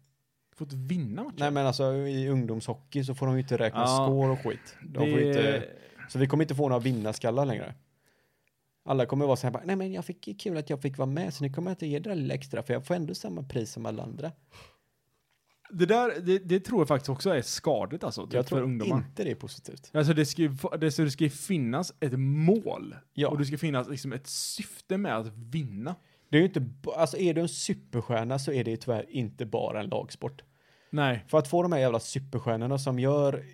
Fått vinna matchen. Nej men alltså i ungdomshockey så får de ju inte räkna Ja. score och skit. De får ju inte, så vi kommer inte få några vinnarskallar längre. Alla kommer vara så här bara, nej men jag fick kul att jag fick vara med så nu kommer jag inte ge det där lilla extra för jag får ändå samma pris som alla andra. Typ Det där, det, det tror jag faktiskt också är skadligt alltså, typ Jag för tror ungdomar. inte det är positivt. Alltså det ska ju, va- det, så det ska ju finnas ett mål. Ja. Och det ska finnas liksom ett syfte med att vinna. Det är ju inte, ba- alltså är du en superstjärna så är det ju tyvärr inte bara en lagsport. Nej. För att få de här jävla superstjärnorna som gör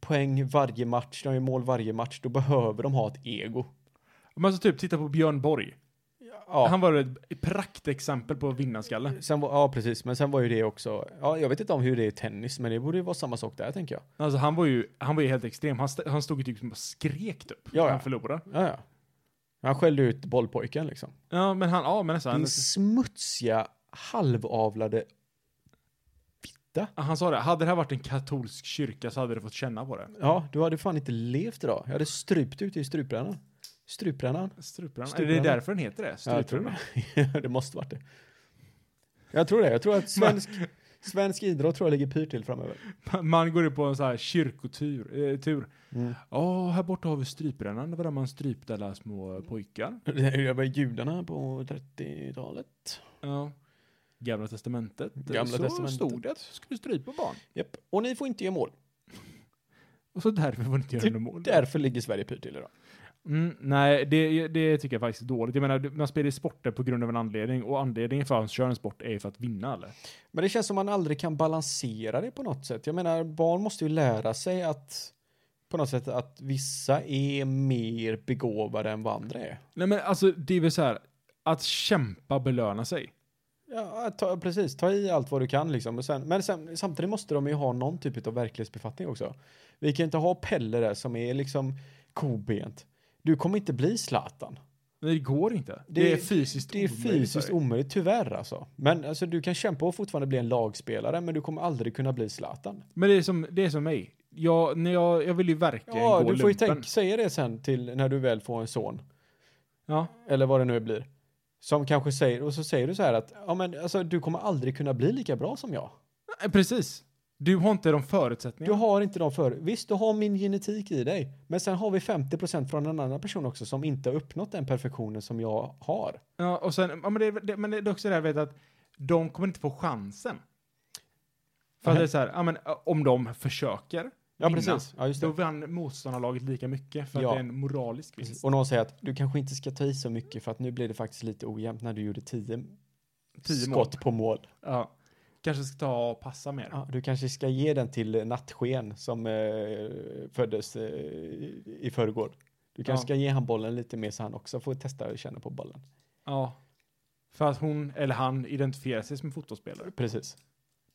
poäng varje match, de gör mål varje match, då behöver de ha ett ego. Men alltså typ, titta på Björn Borg. Ja. Han var ett praktexempel på vinnarskalle. Sen var, ja, precis. Men sen var ju det också, ja, jag vet inte om hur det är i tennis, men det borde ju vara samma sak där, tänker jag. Alltså han var ju, han var ju helt extrem. Han, st- han stod ju typ som bara skrek typ. Ja, när ja. Han förlorade. Ja, ja. Han skällde ut bollpojken liksom. Ja, men han, ja men alltså, han, Din smutsiga, halvavlade fitta. han sa det, hade det här varit en katolsk kyrka så hade du fått känna på det. Ja, du hade fan inte levt idag. Jag hade strypt ut i struprännan. Struprännan. Strupran. Är det Strupran. därför den heter det? Ja, jag Strupran. tror det. det måste varit det. Jag tror det. Jag tror att svensk, svensk idrott tror jag ligger pyrt till framöver. Man går ju på en så här kyrkotur. Eh, tur. Mm. Ja, här borta har vi stryprännan. Det var där man strypte alla små pojkar. Det var judarna på 30-talet. Ja. Gamla testamentet. Gamla så testamentet. stod det att du skulle strypa barn. Japp. Och ni får inte göra mål. Och så därför får ni inte göra Det- något mål. Därför ligger Sverige pyrt till idag. Mm, nej, det, det tycker jag faktiskt är dåligt. Jag menar, du- man spelar ju sporter på grund av en anledning. Och anledningen för att man kör en sport är ju för att vinna, eller? Men det känns som man aldrig kan balansera det på något sätt. Jag menar, barn måste ju lära sig att på något sätt att vissa är mer begåvade än vad andra är. Nej, men alltså, det är väl så här. Att kämpa belöna sig. Ja, ta, precis. Ta i allt vad du kan liksom. Och sen, men sen, samtidigt måste de ju ha någon typ av verklighetsbefattning också. Vi kan inte ha Pelle där som är liksom kobent. Du kommer inte bli Zlatan. Nej, det går inte. Det, är fysiskt Det är omöjligt för fysiskt dig. omöjligt, tyvärr alltså. Men alltså, du kan kämpa och fortfarande bli en lagspelare, men du kommer aldrig kunna bli Zlatan. Men det är som, det är som mig. jag, när jag, jag vill ju verkligen Ja, gå du får ju lumpen. tänka, säga det sen till när du väl får en son. Ja. Eller vad det nu blir. Som kanske säger, och så säger du så här att, ja men alltså du kommer aldrig kunna bli lika bra som jag. Nej, precis. Du har inte de Du förutsättningarna. har inte de för. Visst, du har min genetik i dig. Men sen har vi 50% från en annan person också som inte har uppnått den perfektionen som jag har. Ja, och sen, ja, men, det, det, men det är också det här vet att de kommer inte få chansen. För att Nej. det är så här, ja, men, ä, om de försöker, Ja, Vinna. precis. Ja, just då det. vann motståndarlaget lika mycket för Ja. att det är en moralisk vinst. Och någon säger att du kanske inte ska ta i så mycket för att nu blir det faktiskt lite ojämnt när du gjorde 10 Tio mål. skott på mål. Ja. Kanske ska ta och passa mer. Ja, du kanske ska ge den till eh, Nattsken som eh, föddes eh, i förrgår. Du kanske Ja. ska ge han bollen lite mer så han också får testa och känna på bollen. Ja. För att hon eller han identifierar sig som fotbollsspelare. Precis,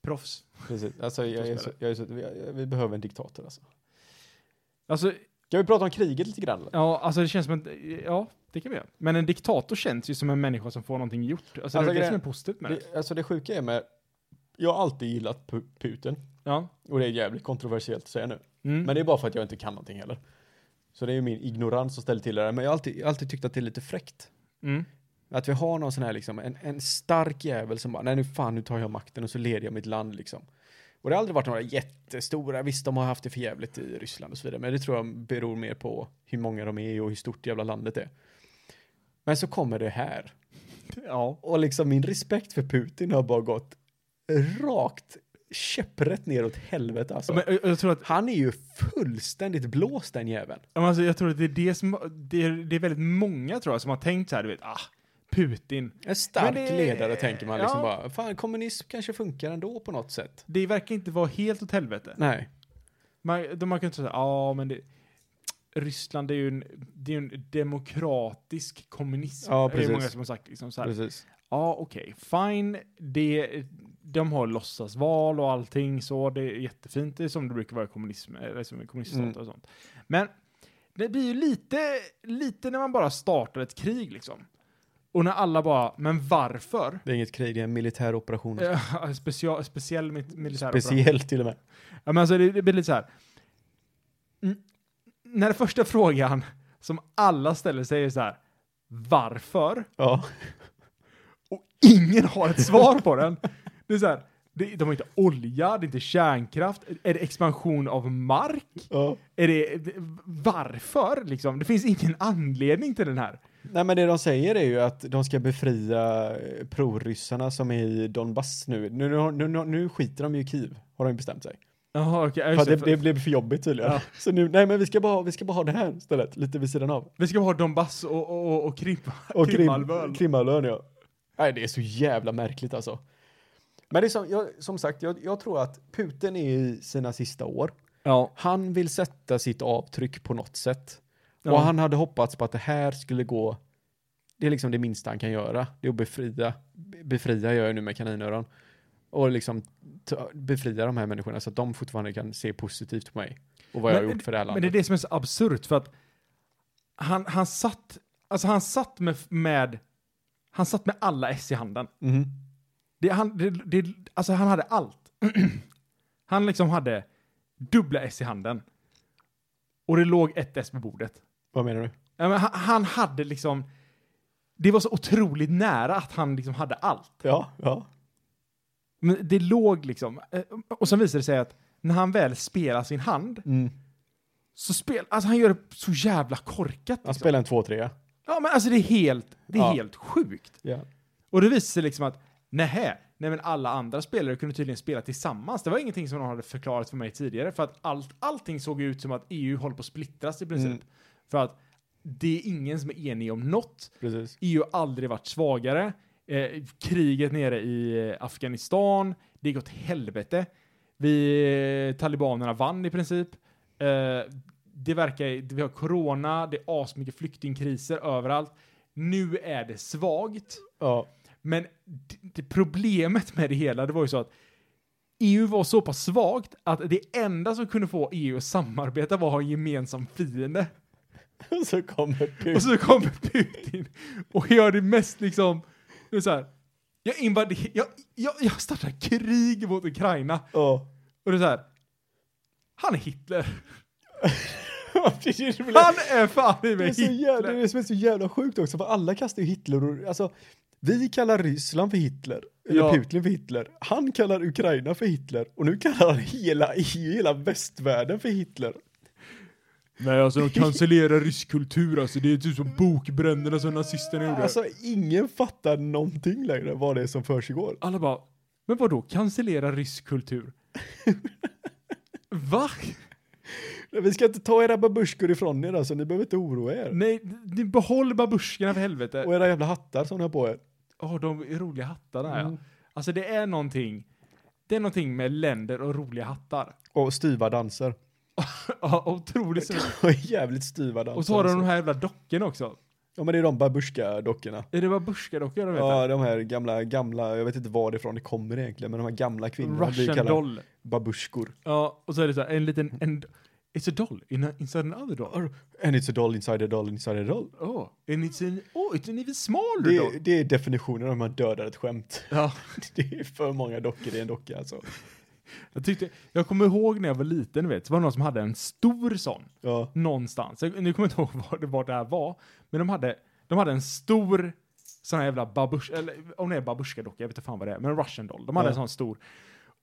Proffs. precis. Alltså, jag, är så, jag är så, vi, vi behöver en diktator alltså. Alltså, Kan vi prata om kriget lite grann? eller? ja, alltså det känns som att, ja, det kan vi göra. Men en diktator känns ju som en människa som får någonting gjort. Alltså, det är grejen- det som är positivt med det. Det, alltså det sjuka är med, jag har alltid gillat Pu- Putin. Ja. Och det är jävligt kontroversiellt att säga nu. Mm. Men det är bara för att jag inte kan någonting heller. Så det är ju min ignorans som ställer till det där. Men jag har alltid, jag har alltid tyckt att det är lite fräckt. Mm. Att vi har någon sån här liksom, en, en stark jävel som bara, nej nu fan nu tar jag makten och så leder jag mitt land liksom. Och det har aldrig varit några jättestora, visst de har haft det för jävligt i Ryssland och så vidare, men det tror jag beror mer på hur många de är och hur stort jävla landet är. Men så kommer det här. Ja. Och liksom min respekt för Putin har bara gått rakt käpprätt neråt helvete alltså. Men jag, jag, tror att, Han är ju fullständigt blåst den jäveln. ja, men alltså, jag tror att det är det som, det är, det är väldigt många tror jag som har tänkt så här, du vet, ah, Putin. En stark Men det- ledare tänker man liksom ja. bara, fan kommunism kanske funkar ändå på något sätt. Det verkar inte vara helt åt helvete. Nej, Man, de, man kan inte säga, ja men det, Ryssland det är ju en, det är ju en demokratisk kommunism. Ja, Det precis. är många som har sagt liksom så här, precis. ja okej, fine, det, de har låtsasval och allting så, det är jättefint, det är som det brukar vara i kommunism, eller som i kommuniststater Mm. och sånt. Men det blir ju lite, lite när man bara startar ett krig liksom. Och när alla bara, men varför? Det är inget krig, det är en militär operation. Eh, Special, speciell mi- militär operation. Speciellt till och med. Ja, men alltså det, det blir lite så här. Mm. När den första frågan som alla ställer sig är så här. Varför? Ja, Och ingen har ett svar på den. Det är så här. Det, de har inte olja, det är inte kärnkraft. Är det expansion av mark? ja. Är det, varför liksom? Det finns ingen anledning till den här. Nej men det de säger är ju att de ska befria eh, proryssarna som är i Donbass nu. Nu, nu, nu, nu skiter de ju i Kiev, har de ju bestämt sig. Jaha, okej. ja, För just att det, det. det blev för jobbigt tydligen. Ja. Så nu, nej men vi ska bara, ha- vi ska bara ha det här istället, lite vid sidan av. Vi ska ha Donbass och, och, och, och Krim, Och Krimhalvön. Krim, Krimhalvön, ja. Nej, det är så jävla märkligt alltså. Men det är som, jag, som sagt, jag, jag tror att Putin är i sina sista år. Ja. Han vill sätta sitt avtryck på något sätt. Ja. Och han hade hoppats på att det här skulle gå. Det är liksom det minsta han kan göra. Det är att befria. be- Befria gör jag nu med kaninöron. Och liksom ta, befria de här människorna så att de fortfarande kan se positivt på mig. Och vad jag har gjort för det här landet. Men det är det som är så absurt för att han, han satt, alltså han satt med, med, han satt med alla S i handen. Mhm. Det, han, det, det, alltså han hade allt. han liksom hade dubbla S i handen. Och det låg ett S på bordet. Vad menar du? Ja, men han, han hade liksom, det var så otroligt nära att han liksom hade allt. Ja, ja. Men det låg liksom, eh, och sen visade det sig att när han väl spelar sin hand, Mm. så spelar, alltså han gör det så jävla korkat. Han Liksom. spelar en 2-3. Ja, men alltså det är helt, det är Ja. helt sjukt. Ja. Och det visar sig liksom att, nähä, nej men alla andra spelare kunde tydligen spela tillsammans. Det var ingenting som någon hade förklarat för mig tidigare, för att allt, allting såg ut som att EU håller på att splittras i princip. Mm. För att det är ingen som är enig om något. Precis. EU har aldrig varit svagare. Eh, kriget nere i eh, Afghanistan, det gick åt helvete. Vi, eh, talibanerna vann i princip. Eh, det verkar, vi har corona, det är asmycket flyktingkriser överallt. Nu är det svagt. Ja. Men det, det problemet med det hela, det var ju så att EU var så pass svagt att det enda som kunde få EU att samarbeta var att ha en gemensam fiende. Och så kommer Putin. Och så kommer Putin och gör det mest liksom, det är så här, jag invaderar, jag, jag, jag startar krig mot Ukraina. Ja. Och det är så här, Han är Hitler. det är det roliga. Han är fan i Det är mig så jävla, det Hitler. är det som är så jävla sjukt också, för alla kastar ju Hitler och, alltså, vi kallar Ryssland för Hitler, eller Ja. Putin för Hitler, han kallar Ukraina för Hitler, och nu kallar han hela, hela västvärlden för Hitler. Nej alltså de cancellerar rysk kultur alltså. Det är typ som bokbränderna som nazisterna gjorde. Alltså, ingen fattar någonting längre vad det är som försiggår. Alla bara, men vad då cancellera rysk kultur? Va? Vi ska inte ta era babusjkor ifrån er, alltså, ni behöver inte oroa er. Nej, ni behåll babusjkorna för helvete. Och era jävla hattar som ni har på er. Åh, de är roliga hattarna Mm. ja. Alltså det är någonting, det är någonting med länder och roliga hattar. Och styva danser. Ja, otroligt roligt. Och jävligt styva danser. alltså. Och så har de de här jävla dockorna också. Ja men det är de babusjka-dockorna. Är det babusjkadockor de heter? Ja, de här gamla, gamla, jag vet inte varifrån det kommer egentligen, men de här gamla kvinnorna blir Russian kallade doll. babusjkor. Ja, och så är det så här, en liten, en, it's a doll in a, inside another doll. And it's a doll inside a doll inside a doll. Oh, and it's an, oh, it's an even smaller Det är, doll. det är definitionen av hur man dödar ett skämt. Ja. Det är för många dockor i en docka alltså. Jag, tyckte, jag kommer ihåg när jag var liten, vet, så var det någon som hade en stor sån Ja, någonstans. Jag, nu kommer jag inte ihåg var det, var det här var, men de hade, de hade en stor sån här jävla babus, eller om det är babusjkadocka, jag vet inte fan vad det är, men en russian doll. De hade Ja. en sån stor.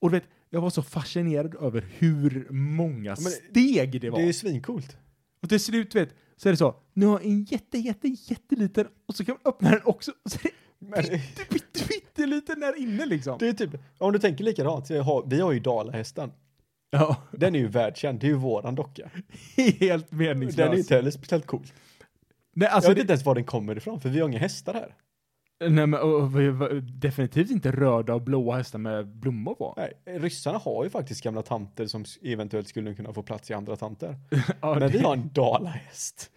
Och du vet, jag var så fascinerad över hur många det- steg det var. Det är ju svincoolt. Och till slut, vet, så är det så, nu har jag en jätte, jätte, jätteliten, och så kan man öppna den också, och så är Men det, det pytte, pytteliten där inne liksom. det är typ, om du tänker likadant, så har, vi har ju dalahästen. ja, Den är ju världskänd, det är ju våran docka. helt Den är ju meningslöst. inte heller speciellt cool. Nej, Jag alltså, vet det, inte ens var den kommer ifrån, för vi har inga hästar här. nej, men, och, och, och, definitivt inte röda och blåa hästar med blommor på. Nej, ryssarna har ju faktiskt gamla tanter som s- eventuellt skulle kunna få plats i andra tanter. Ja, Men det- vi har en dalahäst.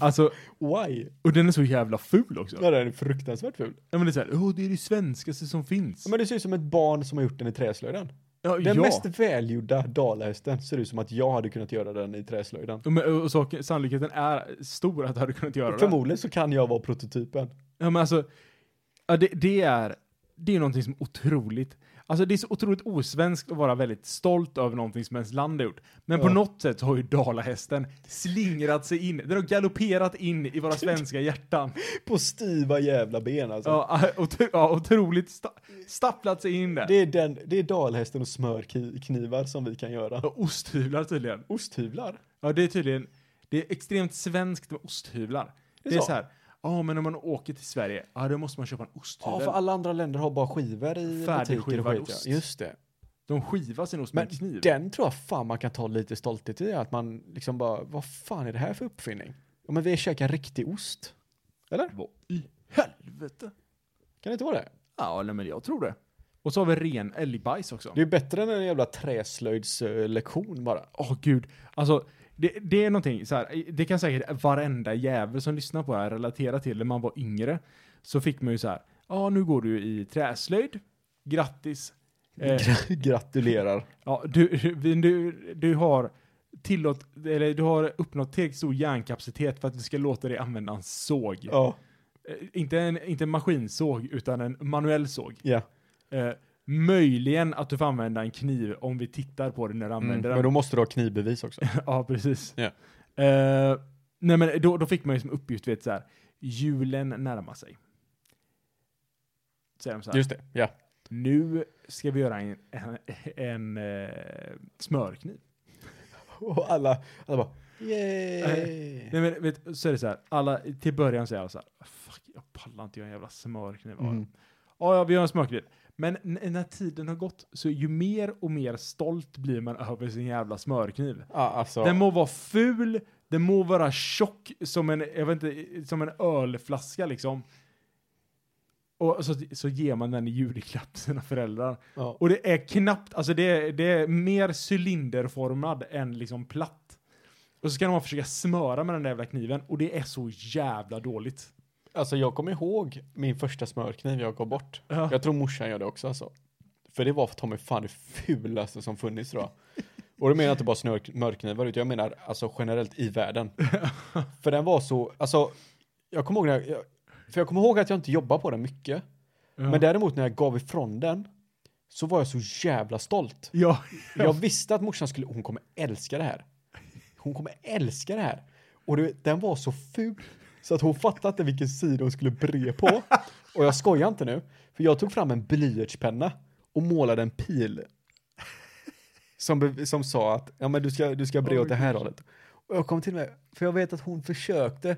Alltså, Why? och den är så jävla ful också. Ja, den är fruktansvärt ful. Ja, men det är såhär, åh det är det svenskaste som finns. Ja, Men det ser ut som ett barn som har gjort den i träslöjden. ja, Den ja. mest välgjorda dalahästen ser ut som att jag hade kunnat göra den i träslöjden. Ja, men, och saken- sannolikheten är stor att du hade kunnat göra det. Förmodligen så kan jag vara prototypen. Ja, men alltså, ja, det, det är, det är någonting som är otroligt, alltså det är så otroligt osvenskt att vara väldigt stolt över någonting som ens land har gjort. Men på Ja. något sätt så har ju dalahästen slingrat sig in, den har galopperat in i våra svenska hjärtan. På stiva jävla ben alltså. Ja, otro, ja otroligt sta, stapplat sig in där. Det, är den, det är dalhästen och smörknivar som vi kan göra. Och osthyvlar tydligen. Osthyvlar. Ja, det är tydligen, det är extremt svenskt med osthyvlar. Det är, så? så, här, ja men om man åker till Sverige, ja då måste man köpa en Ja, osthyvel. för alla andra länder har bara skivor i butiker och Färdigskivad skit. ost. ja. Just det. De skivar sin ost med Men en kniv. den tror jag fan man kan ta lite stolthet i, att man liksom bara, vad fan är det här för uppfinning? Ja men vi käkar riktig ost. Eller? Vad i helvete? Kan det inte vara det? Ja, nej, men jag tror det. Och så har vi ren älgbajs också. Det är ju bättre än en jävla träslöjdslektion bara. Åh gud, alltså det, det är någonting så här, det kan säkert varenda jävel som lyssnar på det här relatera till när man var yngre. Så fick man ju så här, ja nu går du i träslöjd, grattis. Eh, Gratulerar. Ja, du, vi- du, du har tillåt, eller du har uppnått tillräckligt stor hjärnkapacitet för att vi ska låta dig använda en såg. Ja. Eh, Inte, en, inte en maskinsåg, utan en manuell såg. ja. Mm. Eh, möjligen att du får använda en kniv om vi tittar på det när du Mm. använder Men den. då måste du ha knivbevis också. ja, precis. Ja. Eh, nej, men då, då fick man ju som uppgift, vet så här, julen närmar sig. Säger de så här, Just det, ja. nu ska vi göra en, en, en eh, smörkniv. Och alla, alla bara, yay. Nej men vet, så är det så här, alla, till början så är alla så här, fuck, jag pallar inte göra en jävla smörkniv av Mm. mm. Ja, ja, vi gör en smörkniv. Men n- när tiden har gått så ju mer och mer stolt blir man över sin jävla smörkniv. Ja, alltså. Den må vara ful, den må vara tjock som en, jag vet inte, som en ölflaska liksom. Och så, så ger man den i julklapp till sina föräldrar. ja. Och det är knappt, alltså det är, det är mer cylinderformad än liksom platt. Och så ska man försöka smöra med den där jävla kniven och det är så jävla dåligt. Alltså jag kommer ihåg min första smörkniv jag gav bort. Ja. Jag tror morsan gör det också alltså. För det var ta mig fan det fulaste som funnits tror jag. Och då menar jag inte bara snörk- smörknivar utan jag menar alltså generellt i världen. för den var så, alltså jag kommer ihåg när jag, jag- för jag kommer ihåg att jag inte jobbar på den mycket. Men däremot när jag gav ifrån den så var jag så jävla stolt. Ja. Jag visste att morsan skulle, hon kommer älska det här. Hon kommer älska det här. Och du vet, den var så ful. Så att hon fattade inte vilken sida hon skulle bre på. Och jag skojar inte nu. För jag tog fram en blyertspenna och målade en pil. Som, be- som sa att, ja men du ska, du ska bre åt det här hållet. Och jag kom till mig, för jag vet att hon försökte.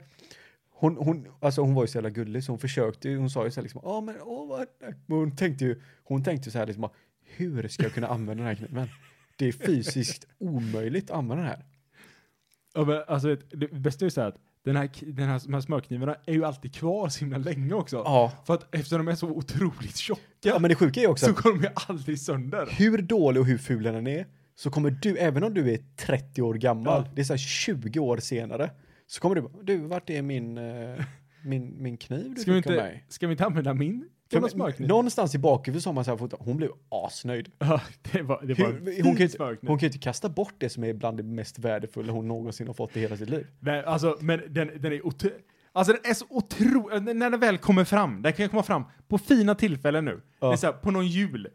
Hon, hon, alltså hon var ju så jävla gullig så hon försökte ju, hon sa ju så här liksom, ja men åh vad, men hon tänkte ju, hon tänkte ju så här liksom, hur ska jag kunna använda den här kniven? Det är fysiskt omöjligt att använda den här. Ja, men, alltså, vet, det bästa är ju så här att den här, k- den här, de här smörknivarna är ju alltid kvar så himla länge också. Ja. För att eftersom de är så otroligt tjocka Ja men det sjuka är ju också så att går de ju aldrig sönder. hur dålig och hur ful den än är så kommer du, även om du är 30 år gammal, Ja. det är så här 20 år senare, så kommer du bara, du vart är min, eh, min, min kniv du Ska vi, fick av inte, mig? ska vi inte använda min För jävla men- smörkniv? någonstans i bakhuvudet så har man så här fått, hon blev asnöjd. Ja, det var, det var Hur, en fin hon, kan ju inte, smörkniv. hon kan ju inte kasta bort det som är bland det mest värdefulla hon någonsin har fått i hela sitt liv. Nej, alltså, men den, den är otro- Alltså den är så otrolig, när den väl kommer fram, den kan ju komma fram på fina tillfällen nu. Ja. Det är så här, på någon jul.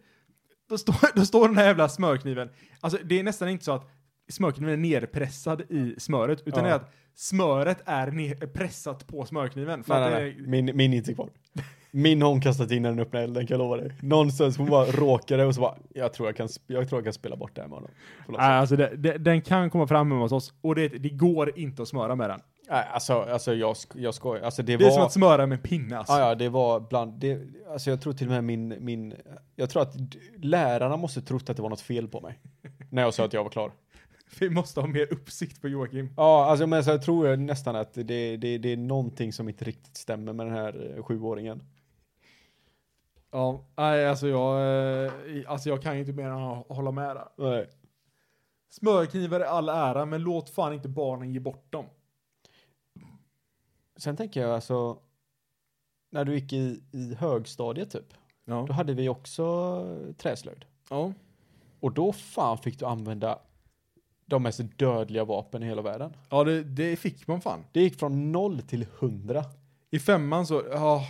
Då står, då står den här jävla smörkniven, alltså det är nästan inte så att smörkniven är nerpressad i smöret, utan Ja. det är att smöret är ner, eh, pressat på smörkniven. För Nej, att nej, det, nej. Min, min är inte kvar. Min har hon kastat in när den öppnade elden, kan jag lova dig. Någonstans hon bara råkade och så bara, jag tror jag kan, sp- jag tror jag kan spela bort det här med honom. På något Nej, alltså det, det, den kan komma fram hemma hos oss, och det, det går inte att smöra med den. Nej, alltså, alltså jag, sk- jag skojar. Alltså det, Det är var... som att smöra med en pinne alltså. Ja, ja, det var bland... Det, alltså jag tror till och med min, min... Jag tror att d- lärarna måste trott att det var något fel på mig. När jag sa att jag var klar. Vi måste ha mer uppsikt på Joakim. Ja, alltså men så jag tror jag nästan att det, det, det är någonting som inte riktigt stämmer med den här eh, sjuåringen. Ja, nej, alltså jag, eh, alltså jag kan ju inte mer än att hålla med där. Nej. Smörknivar är all ära, men låt fan inte barnen ge bort dem. Sen tänker jag alltså... När du gick i, i högstadiet typ. Ja. Då hade vi också eh, träslöjd. ja. Och då fan fick du använda de mest dödliga vapen i hela världen. Ja, det, det fick man fan. Det gick från noll till hundra. I femman så, ja.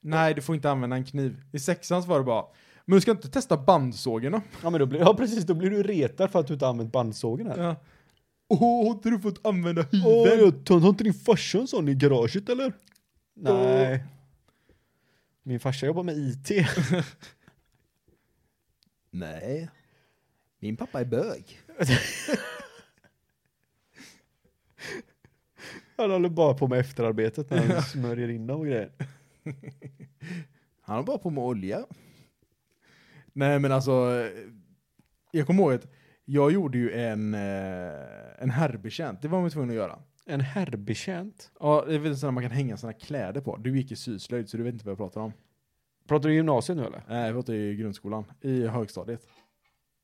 Nej, du får inte använda en kniv. I sexan så var det bara, men du ska inte testa bandsågen då? Ja, men då blir, ja precis, då blir du retad för att du inte har använt bandsågen här. Ja. Åh, har inte du fått använda Åh, hyveln? jag- har inte din farsa en sån i garaget eller? Nej. Min farsa jobbar med IT. Nej. Min pappa är bög. Han håller bara på med efterarbetet när han smörjer in dem och grejer. Han har bara på med olja. Nej, men alltså, eh, jag kommer ihåg att jag gjorde ju en, eh, en herrbetjänt. Det var man ju tvungen att göra. En herrbetjänt. Ja, det är väl sådana man kan hänga sina kläder på. Du gick i syslöjd, så du vet inte vad jag pratar om. Pratar du gymnasiet nu eller? Nej, jag pratar i grundskolan, i högstadiet.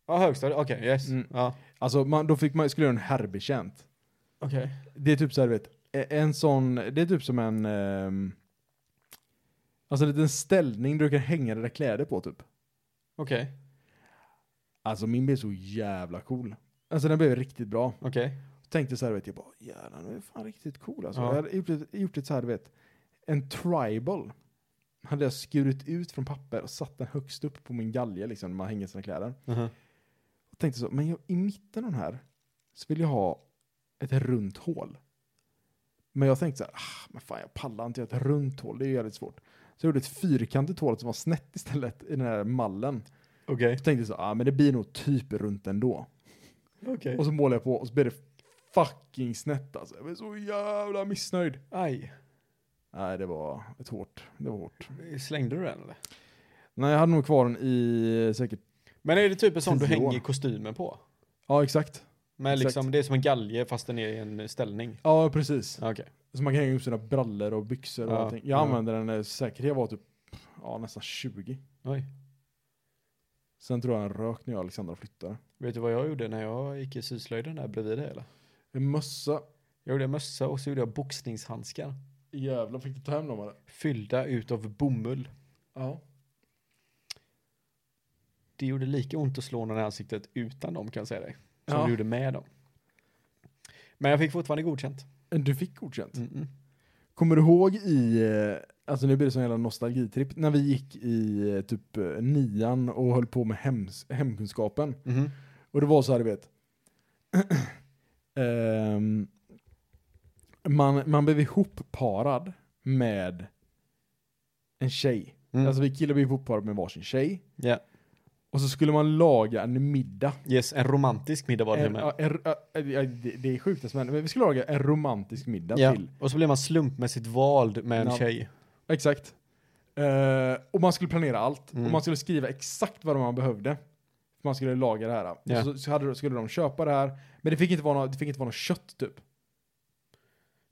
Ja, högstadiet. Okej, yes. Mm. Ja. Alltså, man, då fick man, skulle göra en herrbetjänt. Okej. Det är typ så här, du vet, e- en sån, det är typ som en, ehm, alltså en liten ställning där du kan hänga dina kläder på typ. Okej. Alltså min blev så jävla cool. Alltså den blev riktigt bra. Okej. Tänkte så här, du vet, jag bara, jävlar, den är fan riktigt cool alltså. Ja. Jag hade gjort ett, gjort ett så här, du vet, en tribal. Hade jag skurit ut från papper och satt den högst upp på min galge liksom, när man hänger sina kläder. Mhm. Och tänkte så, men jag, i mitten av den här så vill jag ha ett runt hål. Men jag tänkte så här, ah, men fan jag pallar inte göra ett runt hål, det är ju jävligt svårt. Så jag gjorde ett fyrkantigt hål som var snett istället i den här mallen. Okej. Jag tänkte så, ah, men det blir nog typ runt ändå. Okej. Och så målade jag på och så blev det fucking snett alltså. Jag blev så jävla missnöjd. Aj. Nej, det var ett hårt, det var hårt. Slängde du den eller? Nej, jag hade nog kvar den i säkert, Men är det typ en sån du Tio år. hänger kostymen på? ja exakt. Men Exakt. liksom, det är som en galge fast den är i en ställning. Ja, precis. Okej. Så man kan hänga upp sina brallor och byxor och Ja, allting. Jag ja. använde den eh, säkert, jag var typ ja, nästan 20. Oj. Sen tror jag den rök när jag och Alexandra flyttade. Vet du vad jag gjorde när jag gick i syslöjden där bredvid dig eller? En mössa. Jag gjorde en mössa och så gjorde jag boxningshandskar. Jävlar, fick du ta hem dem eller? Fyllda ut av bomull. Ja. Det gjorde lika ont att slå någon i ansiktet utan dem kan jag säga dig. Som Ja. det gjorde med dem. Men jag fick fortfarande godkänt. Mm, Du fick godkänt. Mm-mm. Kommer du ihåg i eh, Alltså nu blir det sån jävla nostalgitripp. När vi gick i eh, typ eh, nian och höll på med hems- hemkunskapen. Mhm. Och det var så här, du vet. Ehm, man, man blev ihopparad med en tjej. Mm. Alltså vi killar blev ihopparade med varsin tjej. Ja. Och så skulle man laga en middag. Yes, en romantisk middag var det En, med. ja, en, ja, ja, det, det är sjukt, men men vi skulle laga en romantisk middag Ja. till. Och så blev man slumpmässigt vald med en Ja. tjej. Exakt. Eh, och man skulle planera allt. Mm. Och man skulle skriva exakt vad man behövde. Man skulle laga det här. Ja. Och så, så hade, skulle de köpa det här. Men det fick inte vara något, det fick inte vara något kött typ.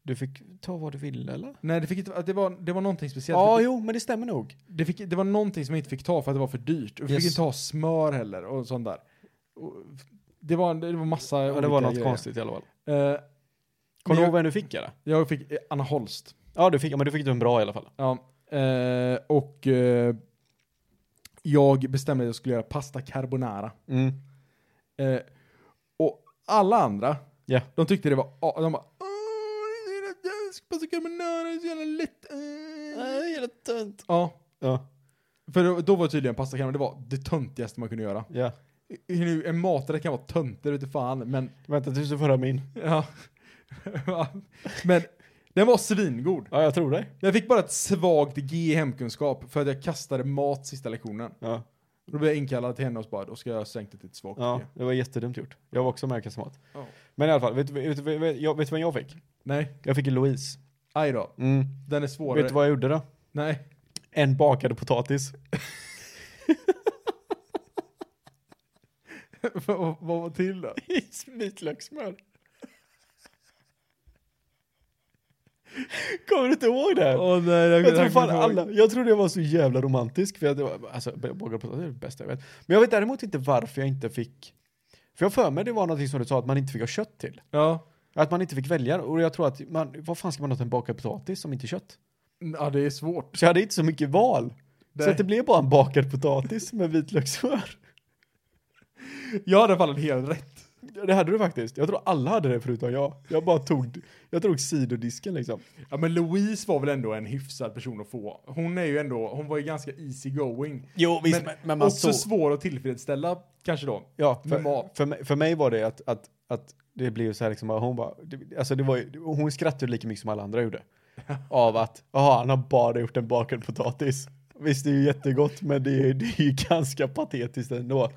Du fick ta vad du ville eller? Nej, det, fick inte, det, var, det var någonting speciellt. Ja, det, jo, men det stämmer nog. det, fick, det var någonting som vi inte fick ta för att det var för dyrt. Och vi Yes. fick inte ha smör heller och sånt där. Och det, var, det var massa Ja, det olika var något grejer. konstigt i alla fall. Eh, Kommer du jag- ihåg vem du fick eller? jag fick eh, Anna Holst. Ja, du fick, ja, men du fick den bra i alla fall. Ja, eh, och eh, jag bestämde att jag skulle göra pasta carbonara. Mm. Eh, och alla andra, Ja. de tyckte det var... a- De bara... "Åh, det är så jävla- Pasta carbonara, det är så jävla lätt. eh." jävla tönt. Ja, Ja, för då, då var tydligen pasta carbonara, det var det töntigaste man kunde göra. ja. Nu, en maträtt kan vara töntig, ute fan, men... Vänta tills du får höra min. Ja. men den var svingod. Ja, jag tror dig. Jag fick bara ett svagt G i hemkunskap för att jag kastade mat sista lektionen. Ja. Då blev jag inkallad till henne och så bara, då ska jag sänka det till ett svagt ja, G. det var jättedumt gjort. Jag var också med och kastade mat. Ja. Men i alla fall, vet du vet, vet, vet, jag- vet du vem jag fick? Nej, Jag fick Louise. aj då. Mm. Den är svårare. Vet du vad jag gjorde då? Nej. En bakad potatis. vad vad var till då? I vitlökssmör. Kommer du inte ihåg det? här? Åh nej, Jag tror kommer fan inte ihåg. alla, jag trodde jag var så jävla romantisk för jag, det var, alltså bakad potatis är det bästa jag vet. Men jag vet däremot inte varför jag inte fick, för jag har för mig det var någonting som du sa att man inte fick ha kött till. Ja. Att man inte fick välja och jag tror att man, vad fan ska man ha till en bakad potatis om inte kött? ja, det är svårt. Så jag hade inte så mycket val. Nej. Så att det blev bara en bakad potatis med vitlökssmör. Jag hade i alla fall helt rätt. Det hade du faktiskt. Jag tror alla hade det förutom jag. Jag bara tog, jag tog sidodisken liksom. Ja, men Louise var väl ändå en hyfsad person att få. Hon är ju ändå, hon var ju ganska easy going. Jo Men, också svår att tillfredsställa kanske då. Ja, för, Med mat. för, mig, för mig var det att, att, att det blev så här liksom, hon bara, det, alltså det var ju, hon skrattade lika mycket som alla andra gjorde. Av att, ja han har bara gjort en bakad potatis. Visst det är ju jättegott men det är, det är ju ganska patetiskt ändå.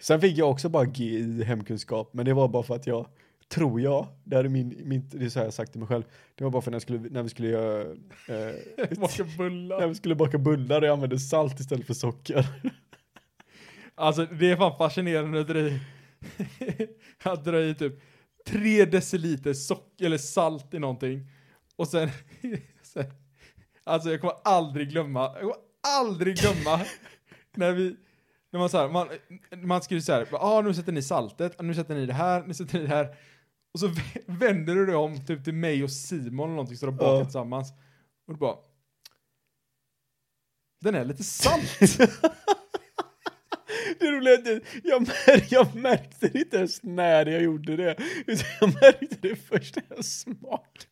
Sen fick jag också bara G i hemkunskap men det var bara för att jag, tror jag, det, här är min, min, det är så här jag sagt till mig själv, det var bara för när, jag skulle, när vi skulle göra, eh, Baka när bullar. vi skulle baka bullar och jag använde salt istället för socker. Alltså det är fan fascinerande att dra i, att dra i typ tre deciliter socker eller salt i någonting. Och sen, sen alltså jag kommer aldrig glömma, jag kommer aldrig glömma när vi, när man så här, man, man skriver så här, ah, nu sätter ni saltet, ah, nu sätter ni det här, nu sätter ni det här. Och så vä- vänder du dig om typ till mig och Simon eller någonting så de bakar Ja. tillsammans. Och du bara, den är lite salt. Det roliga är att jag, mär, jag märkte det inte ens när jag gjorde det. Utan jag märkte det först när jag smakade.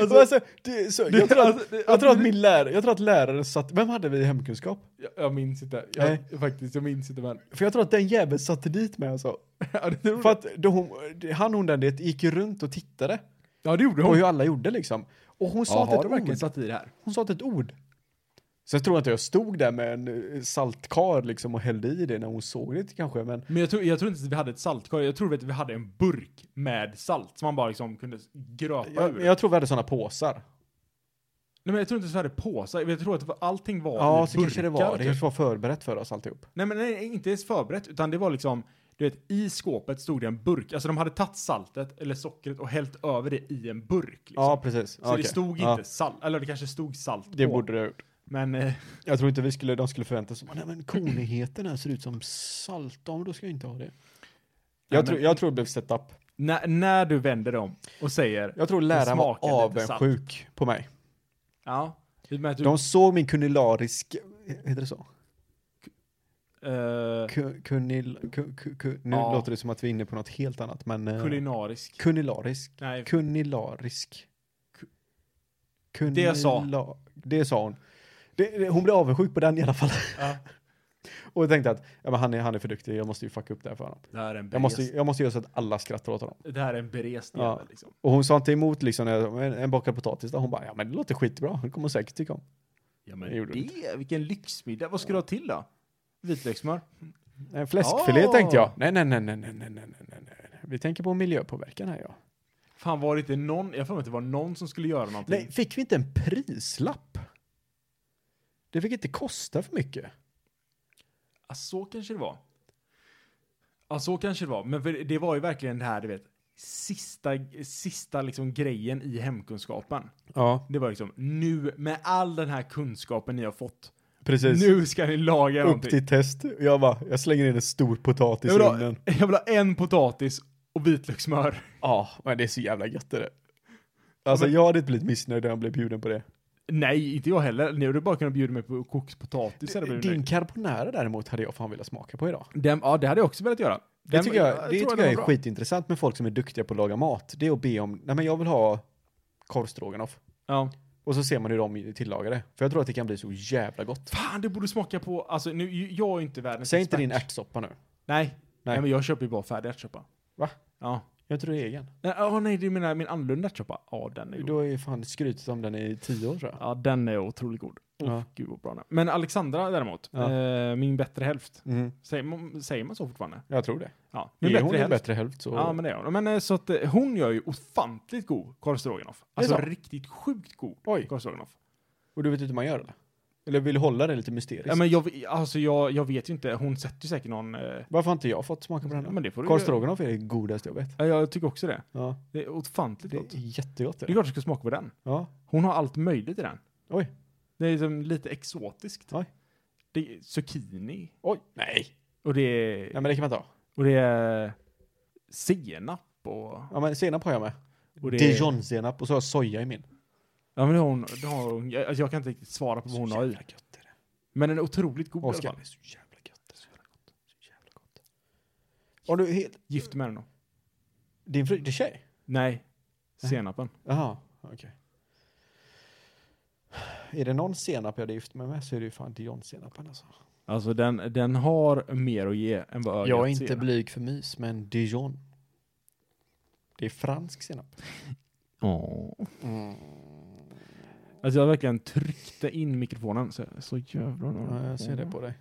Alltså, det, så, jag, tror att, alltså, det- jag, tror att min lärare, jag tror att läraren satt... Vem hade vi i hemkunskap? Jag, jag minns inte. Jag, Nej. faktiskt, jag minns inte men. För jag tror att den jäveln satte dit mig alltså. ja, det, gjorde- För att då hon, han hon den det gick ju runt och tittade ja, det gjorde på hon. hur alla gjorde liksom. Och hon sa Ja, inte har ett du ord. verkligen satt i det här. Hon sa inte ett ord. Sen tror jag inte jag stod där med en eh, saltkar liksom och hällde i det när hon såg det kanske. Men Men jag tror, jag tror inte att vi hade ett saltkar. Jag tror att vi hade en burk med salt som man bara liksom kunde gröpa ur. jag, jag tror vi hade sådana påsar. Nej, men jag tror inte att vi hade påsar. Jag tror att det var- allting var Ja, i så kanske det burkar, var. Det typ. kanske var förberett för oss alltihop. Nej, men nej, inte ens förberett, utan det var liksom, du vet, i skåpet stod det en burk. Alltså de hade tagit saltet eller sockret och hällt över det i en burk. Liksom. Ja, precis. så det stod inte salt, eller det kanske stod salt Det på. borde det ha gjort. Men eh, Jag tror inte vi skulle, de skulle förvänta sig, nej men konigheten här ser ut som salt, ja men då ska jag inte ha det. Jag, men- tror, jag tror det blev setup. när, när du vänder dem och säger, Jag tror läraren var smakade lite salt. avundsjuk på mig. ja, i och med att du De såg min kunilarisk, heter det så? eh, Ku- Kunil, ku, ku, ku, nu Ja. låter det som att vi är inne på något helt annat, men... eh, kulinarisk. Kulinarisk. Nej, Kunilarisk. Kunde Det sa- la- Det sa hon. Det, det, hon blev avundsjuk på den i alla fall. Ja. och jag tänkte att ja, men han, är, han är för duktig, jag måste ju fucka upp det här för honom. Det här är en Jag måste, jag måste göra så att alla skrattar åt honom. Det här är en berest Ja. jävel liksom. Och hon sa inte emot liksom när jag- en, en bakad potatis. Där. Hon bara, ja men det låter skitbra, det kommer hon säkert tycka om. Ja, Det gjorde du det, vilken lyxmiddag. Vad ska du ha till då? Vitlökssmör? En Eh, fläskfilé tänkte jag. Ah. Nej, nej, nej, nej, nej, nej, nej, nej, nej. nej. Vi tänker på miljöpåverkan här ja. Fan var det inte någon, jag får inte det var någon som skulle göra någonting. Nej, fick vi inte en prislapp? Det fick inte kosta för mycket. Ja, så kanske det var. Ja, så kanske det var. Men för det var ju verkligen det här, du vet, sista, sista liksom grejen i hemkunskapen. Ja, Det var liksom, nu med all den här kunskapen ni har fått, precis. nu ska ni laga Upp någonting. till test. Jag bara, jag slänger in en stor potatis Jag i vill, ha, ugnen. jag vill ha en potatis och vitlökssmör. Ja, men det är så jävla gött det där. Alltså Men- jag hade inte blivit missnöjd när jag blev bjuden på det. Nej, inte jag heller. Ni hade bara kunnat bjuda mig på kokt potatis. hade jag blivit Din nöjd. carbonara däremot hade jag fan velat smaka på idag. Den, ja, det hade jag också velat göra. Det Den- tycker jag, det tror tycker den jag var är bra. skitintressant med folk som är duktiga på att laga mat. Det är att be om, nej men jag vill ha korvstroganoff. Ja. Och så ser man hur de tillagar det. För jag tror att det kan bli så jävla gott. Fan, det borde smaka på, alltså nu, jag är ju inte världens Säg inte din expert. ärtsoppa nu. Nej. Nej. Nej. men jag köper ju bara färdig ärtsoppa. Va? Ja. Jag tror det är egen. Nej, åh, nej, du menar min annorlunda ärtsoppa? Ja, den är god. Du har ju fan skrutit om den i tio år tror jag. Ja, den är otroligt god. Ja. Gud vad bra den är. Men Alexandra däremot, Ja. eh, min bättre hälft. Mm. Säger man, säger man så fortfarande? Jag tror det. Ja, min Är bättre hon en hälft. bättre hälft så... Ja, men det är hon. Men eh, så att eh, hon gör ju ofantligt god korv stroganoff. är Alltså så. riktigt sjukt god Oj. korv stroganoff. Och du vet inte hur man gör eller? Eller vill du hålla det lite mysteriskt? Ja, men jag, alltså jag, jag vet ju inte, hon sätter ju säkert någon... Eh, Varför har inte jag fått smaka på den? ja, här? men det får du Korv ju- stroganoff är det godaste jag vet. Ja, jag tycker också det. Ja, Det är ofantligt det är gott. jättegott Det är det. klart du ska smaka på den. Ja, Hon har allt möjligt i den. oj. Det är liksom lite exotiskt. Oj. Det är zucchini. Oj. Nej. Och det är, Nej men det kan man ta. och det är senap och... Ja men senap har jag med. och det är, Dijonsenap och så har jag soja i min. Ja men det har hon, det har hon jag, alltså jag kan inte riktigt svara på vad hon har i. gött är det. Men den är otroligt god i Oskar. alla fall. är så jävla gött. Det är så jävla gott. Så jävla gott. Har du helt... Gift med den då? Din fru, din tjej? Nej. Senapen. Jaha, okej. Är det någon senap jag hade gift mig med så är det ju fan dijonsenapen alltså. Alltså den, den har mer att ge än vad ögat Jag är ser. inte blyg för mys, men dijon. Det är fransk senap. Åh. Mm. Alltså jag verkligen tryckte in mikrofonen så, så jävla Ja, jag ser det på dig.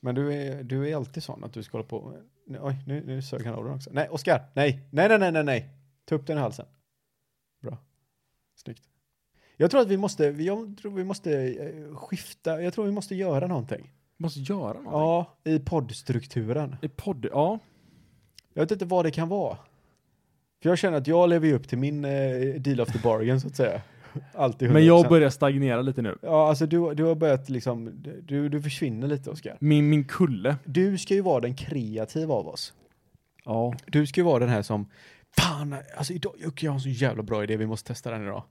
Men du är, du är alltid sån att du ska hålla på. Nu- Oj, nu, nu sög han av den också. Nej, Oskar, nej, nej, nej, nej, nej, nej. Ta upp den i halsen. Bra. Snyggt. Jag tror att vi måste, vi- jag tror vi måste eh, skifta, jag tror vi måste göra någonting. Måste göra någonting. Ja, i poddstrukturen. I podd, ja. Jag vet inte vad det kan vara. För jag känner att jag lever ju upp till min eh, deal of the bargain så att säga. Alltid 100%. Men jag börjar stagnera lite nu. Ja, alltså du, du har börjat liksom, du, du försvinner lite Oskar. Min, min kulle. Du ska ju vara den kreativa av oss. Ja. Du ska ju vara den här som, fan, alltså idag, jag jag har en så jävla bra idé, vi måste testa den idag.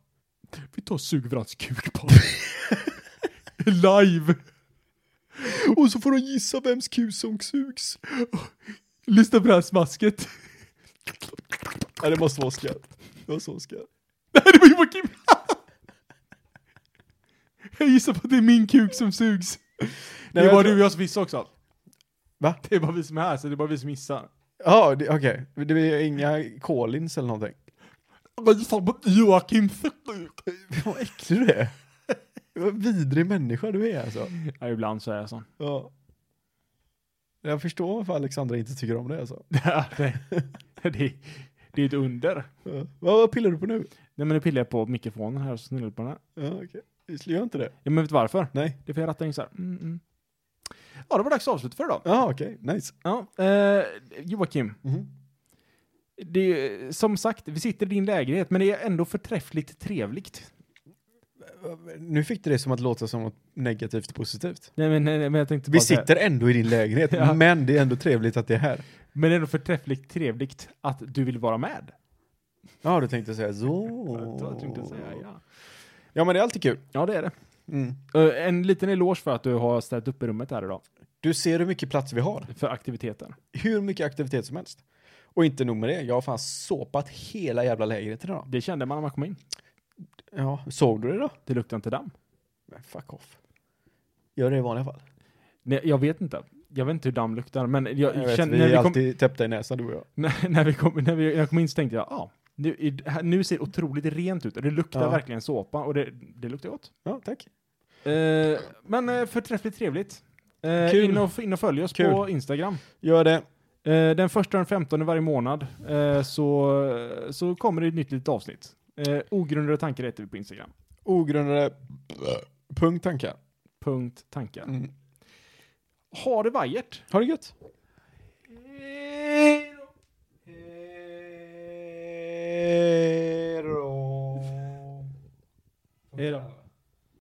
Vi tar sug varandras kuk på. Live! Och så får de gissa vems kus som sugs. Lyssna på det här smasket. Ja, det måste vara Oskar. Det måste vara Oskar. Nej, det var Joakim! jag gissar på att det är min kuk som sugs. Nej, det jag var tror- du och jag som visste också. Va? Det är bara vi som är här, så det är bara vi som missar. Ja, det- okej. Det blir inga call-ins eller någonting. Jag gissar på Joakims kuk. Vad äcklig du är. Vad vidrig människa du är alltså. Ja, ibland så är jag sån. Ja. Jag förstår varför Alexandra inte tycker om det alltså. det, det, det är ett under. Ja. Vad, vad pillar du på nu? Nej men nu pillar jag på mikrofonen här och så snurrar jag på den här. Ja, okej. Visst, Gör inte det? Ja men vet du varför? Nej. Det får jag ratta in så här. Mm, mm. Ja, det var dags att avsluta för idag. Ja, okej. Nice. Ja, eh, Joakim, Mhm. det är, som sagt, vi sitter i din lägenhet, men det är ändå förträffligt trevligt. Nu fick du det som att låta som något negativt och positivt. Nej, men, nej, nej, men jag tänkte bara Vi säga- sitter ändå i din lägenhet, Ja. men det är ändå trevligt att det är här. Men det är ändå förträffligt trevligt att du vill vara med. Ja, du tänkte säga Jag tror att du inte säger så. ja. Ja, men det är alltid kul. ja, det är det. Mm. Eh, En liten eloge för att du har ställt upp i rummet här idag, Du ser hur mycket plats vi har. för aktiviteten. Hur mycket aktivitet som helst. Och inte nog med det, jag har fan såpat hela jävla lägenheten idag. Det kände man när man kom in. Ja, såg du det då? Det luktar inte damm. Men fuck off. Gör det i vanliga fall. Nej, jag vet inte. Jag vet inte hur damm luktar, men jag, Jag, vet, känner, vi när, är vi kom, alltid täppta i näsan du och jag. när, när, vi kom, när vi, när jag kom in så tänkte jag, ja, ah, nu, är- här- nu ser det otroligt rent ut och det luktar Ja. verkligen såpa och det, det luktar gott. Ja, tack. Eh, men eh, förträffligt trevligt. Eh, Kul. In, och, in och följ oss på Kul. Instagram. Gör det. Eh, den första och den femtonde varje månad eh, så, så kommer det ett nytt litet avsnitt. Eh, ogrundade tankar heter vi på Instagram. Ogrundade punkt tankar. Punkt tankar. Mm. Ha det vajert! Ha det gött. Eh,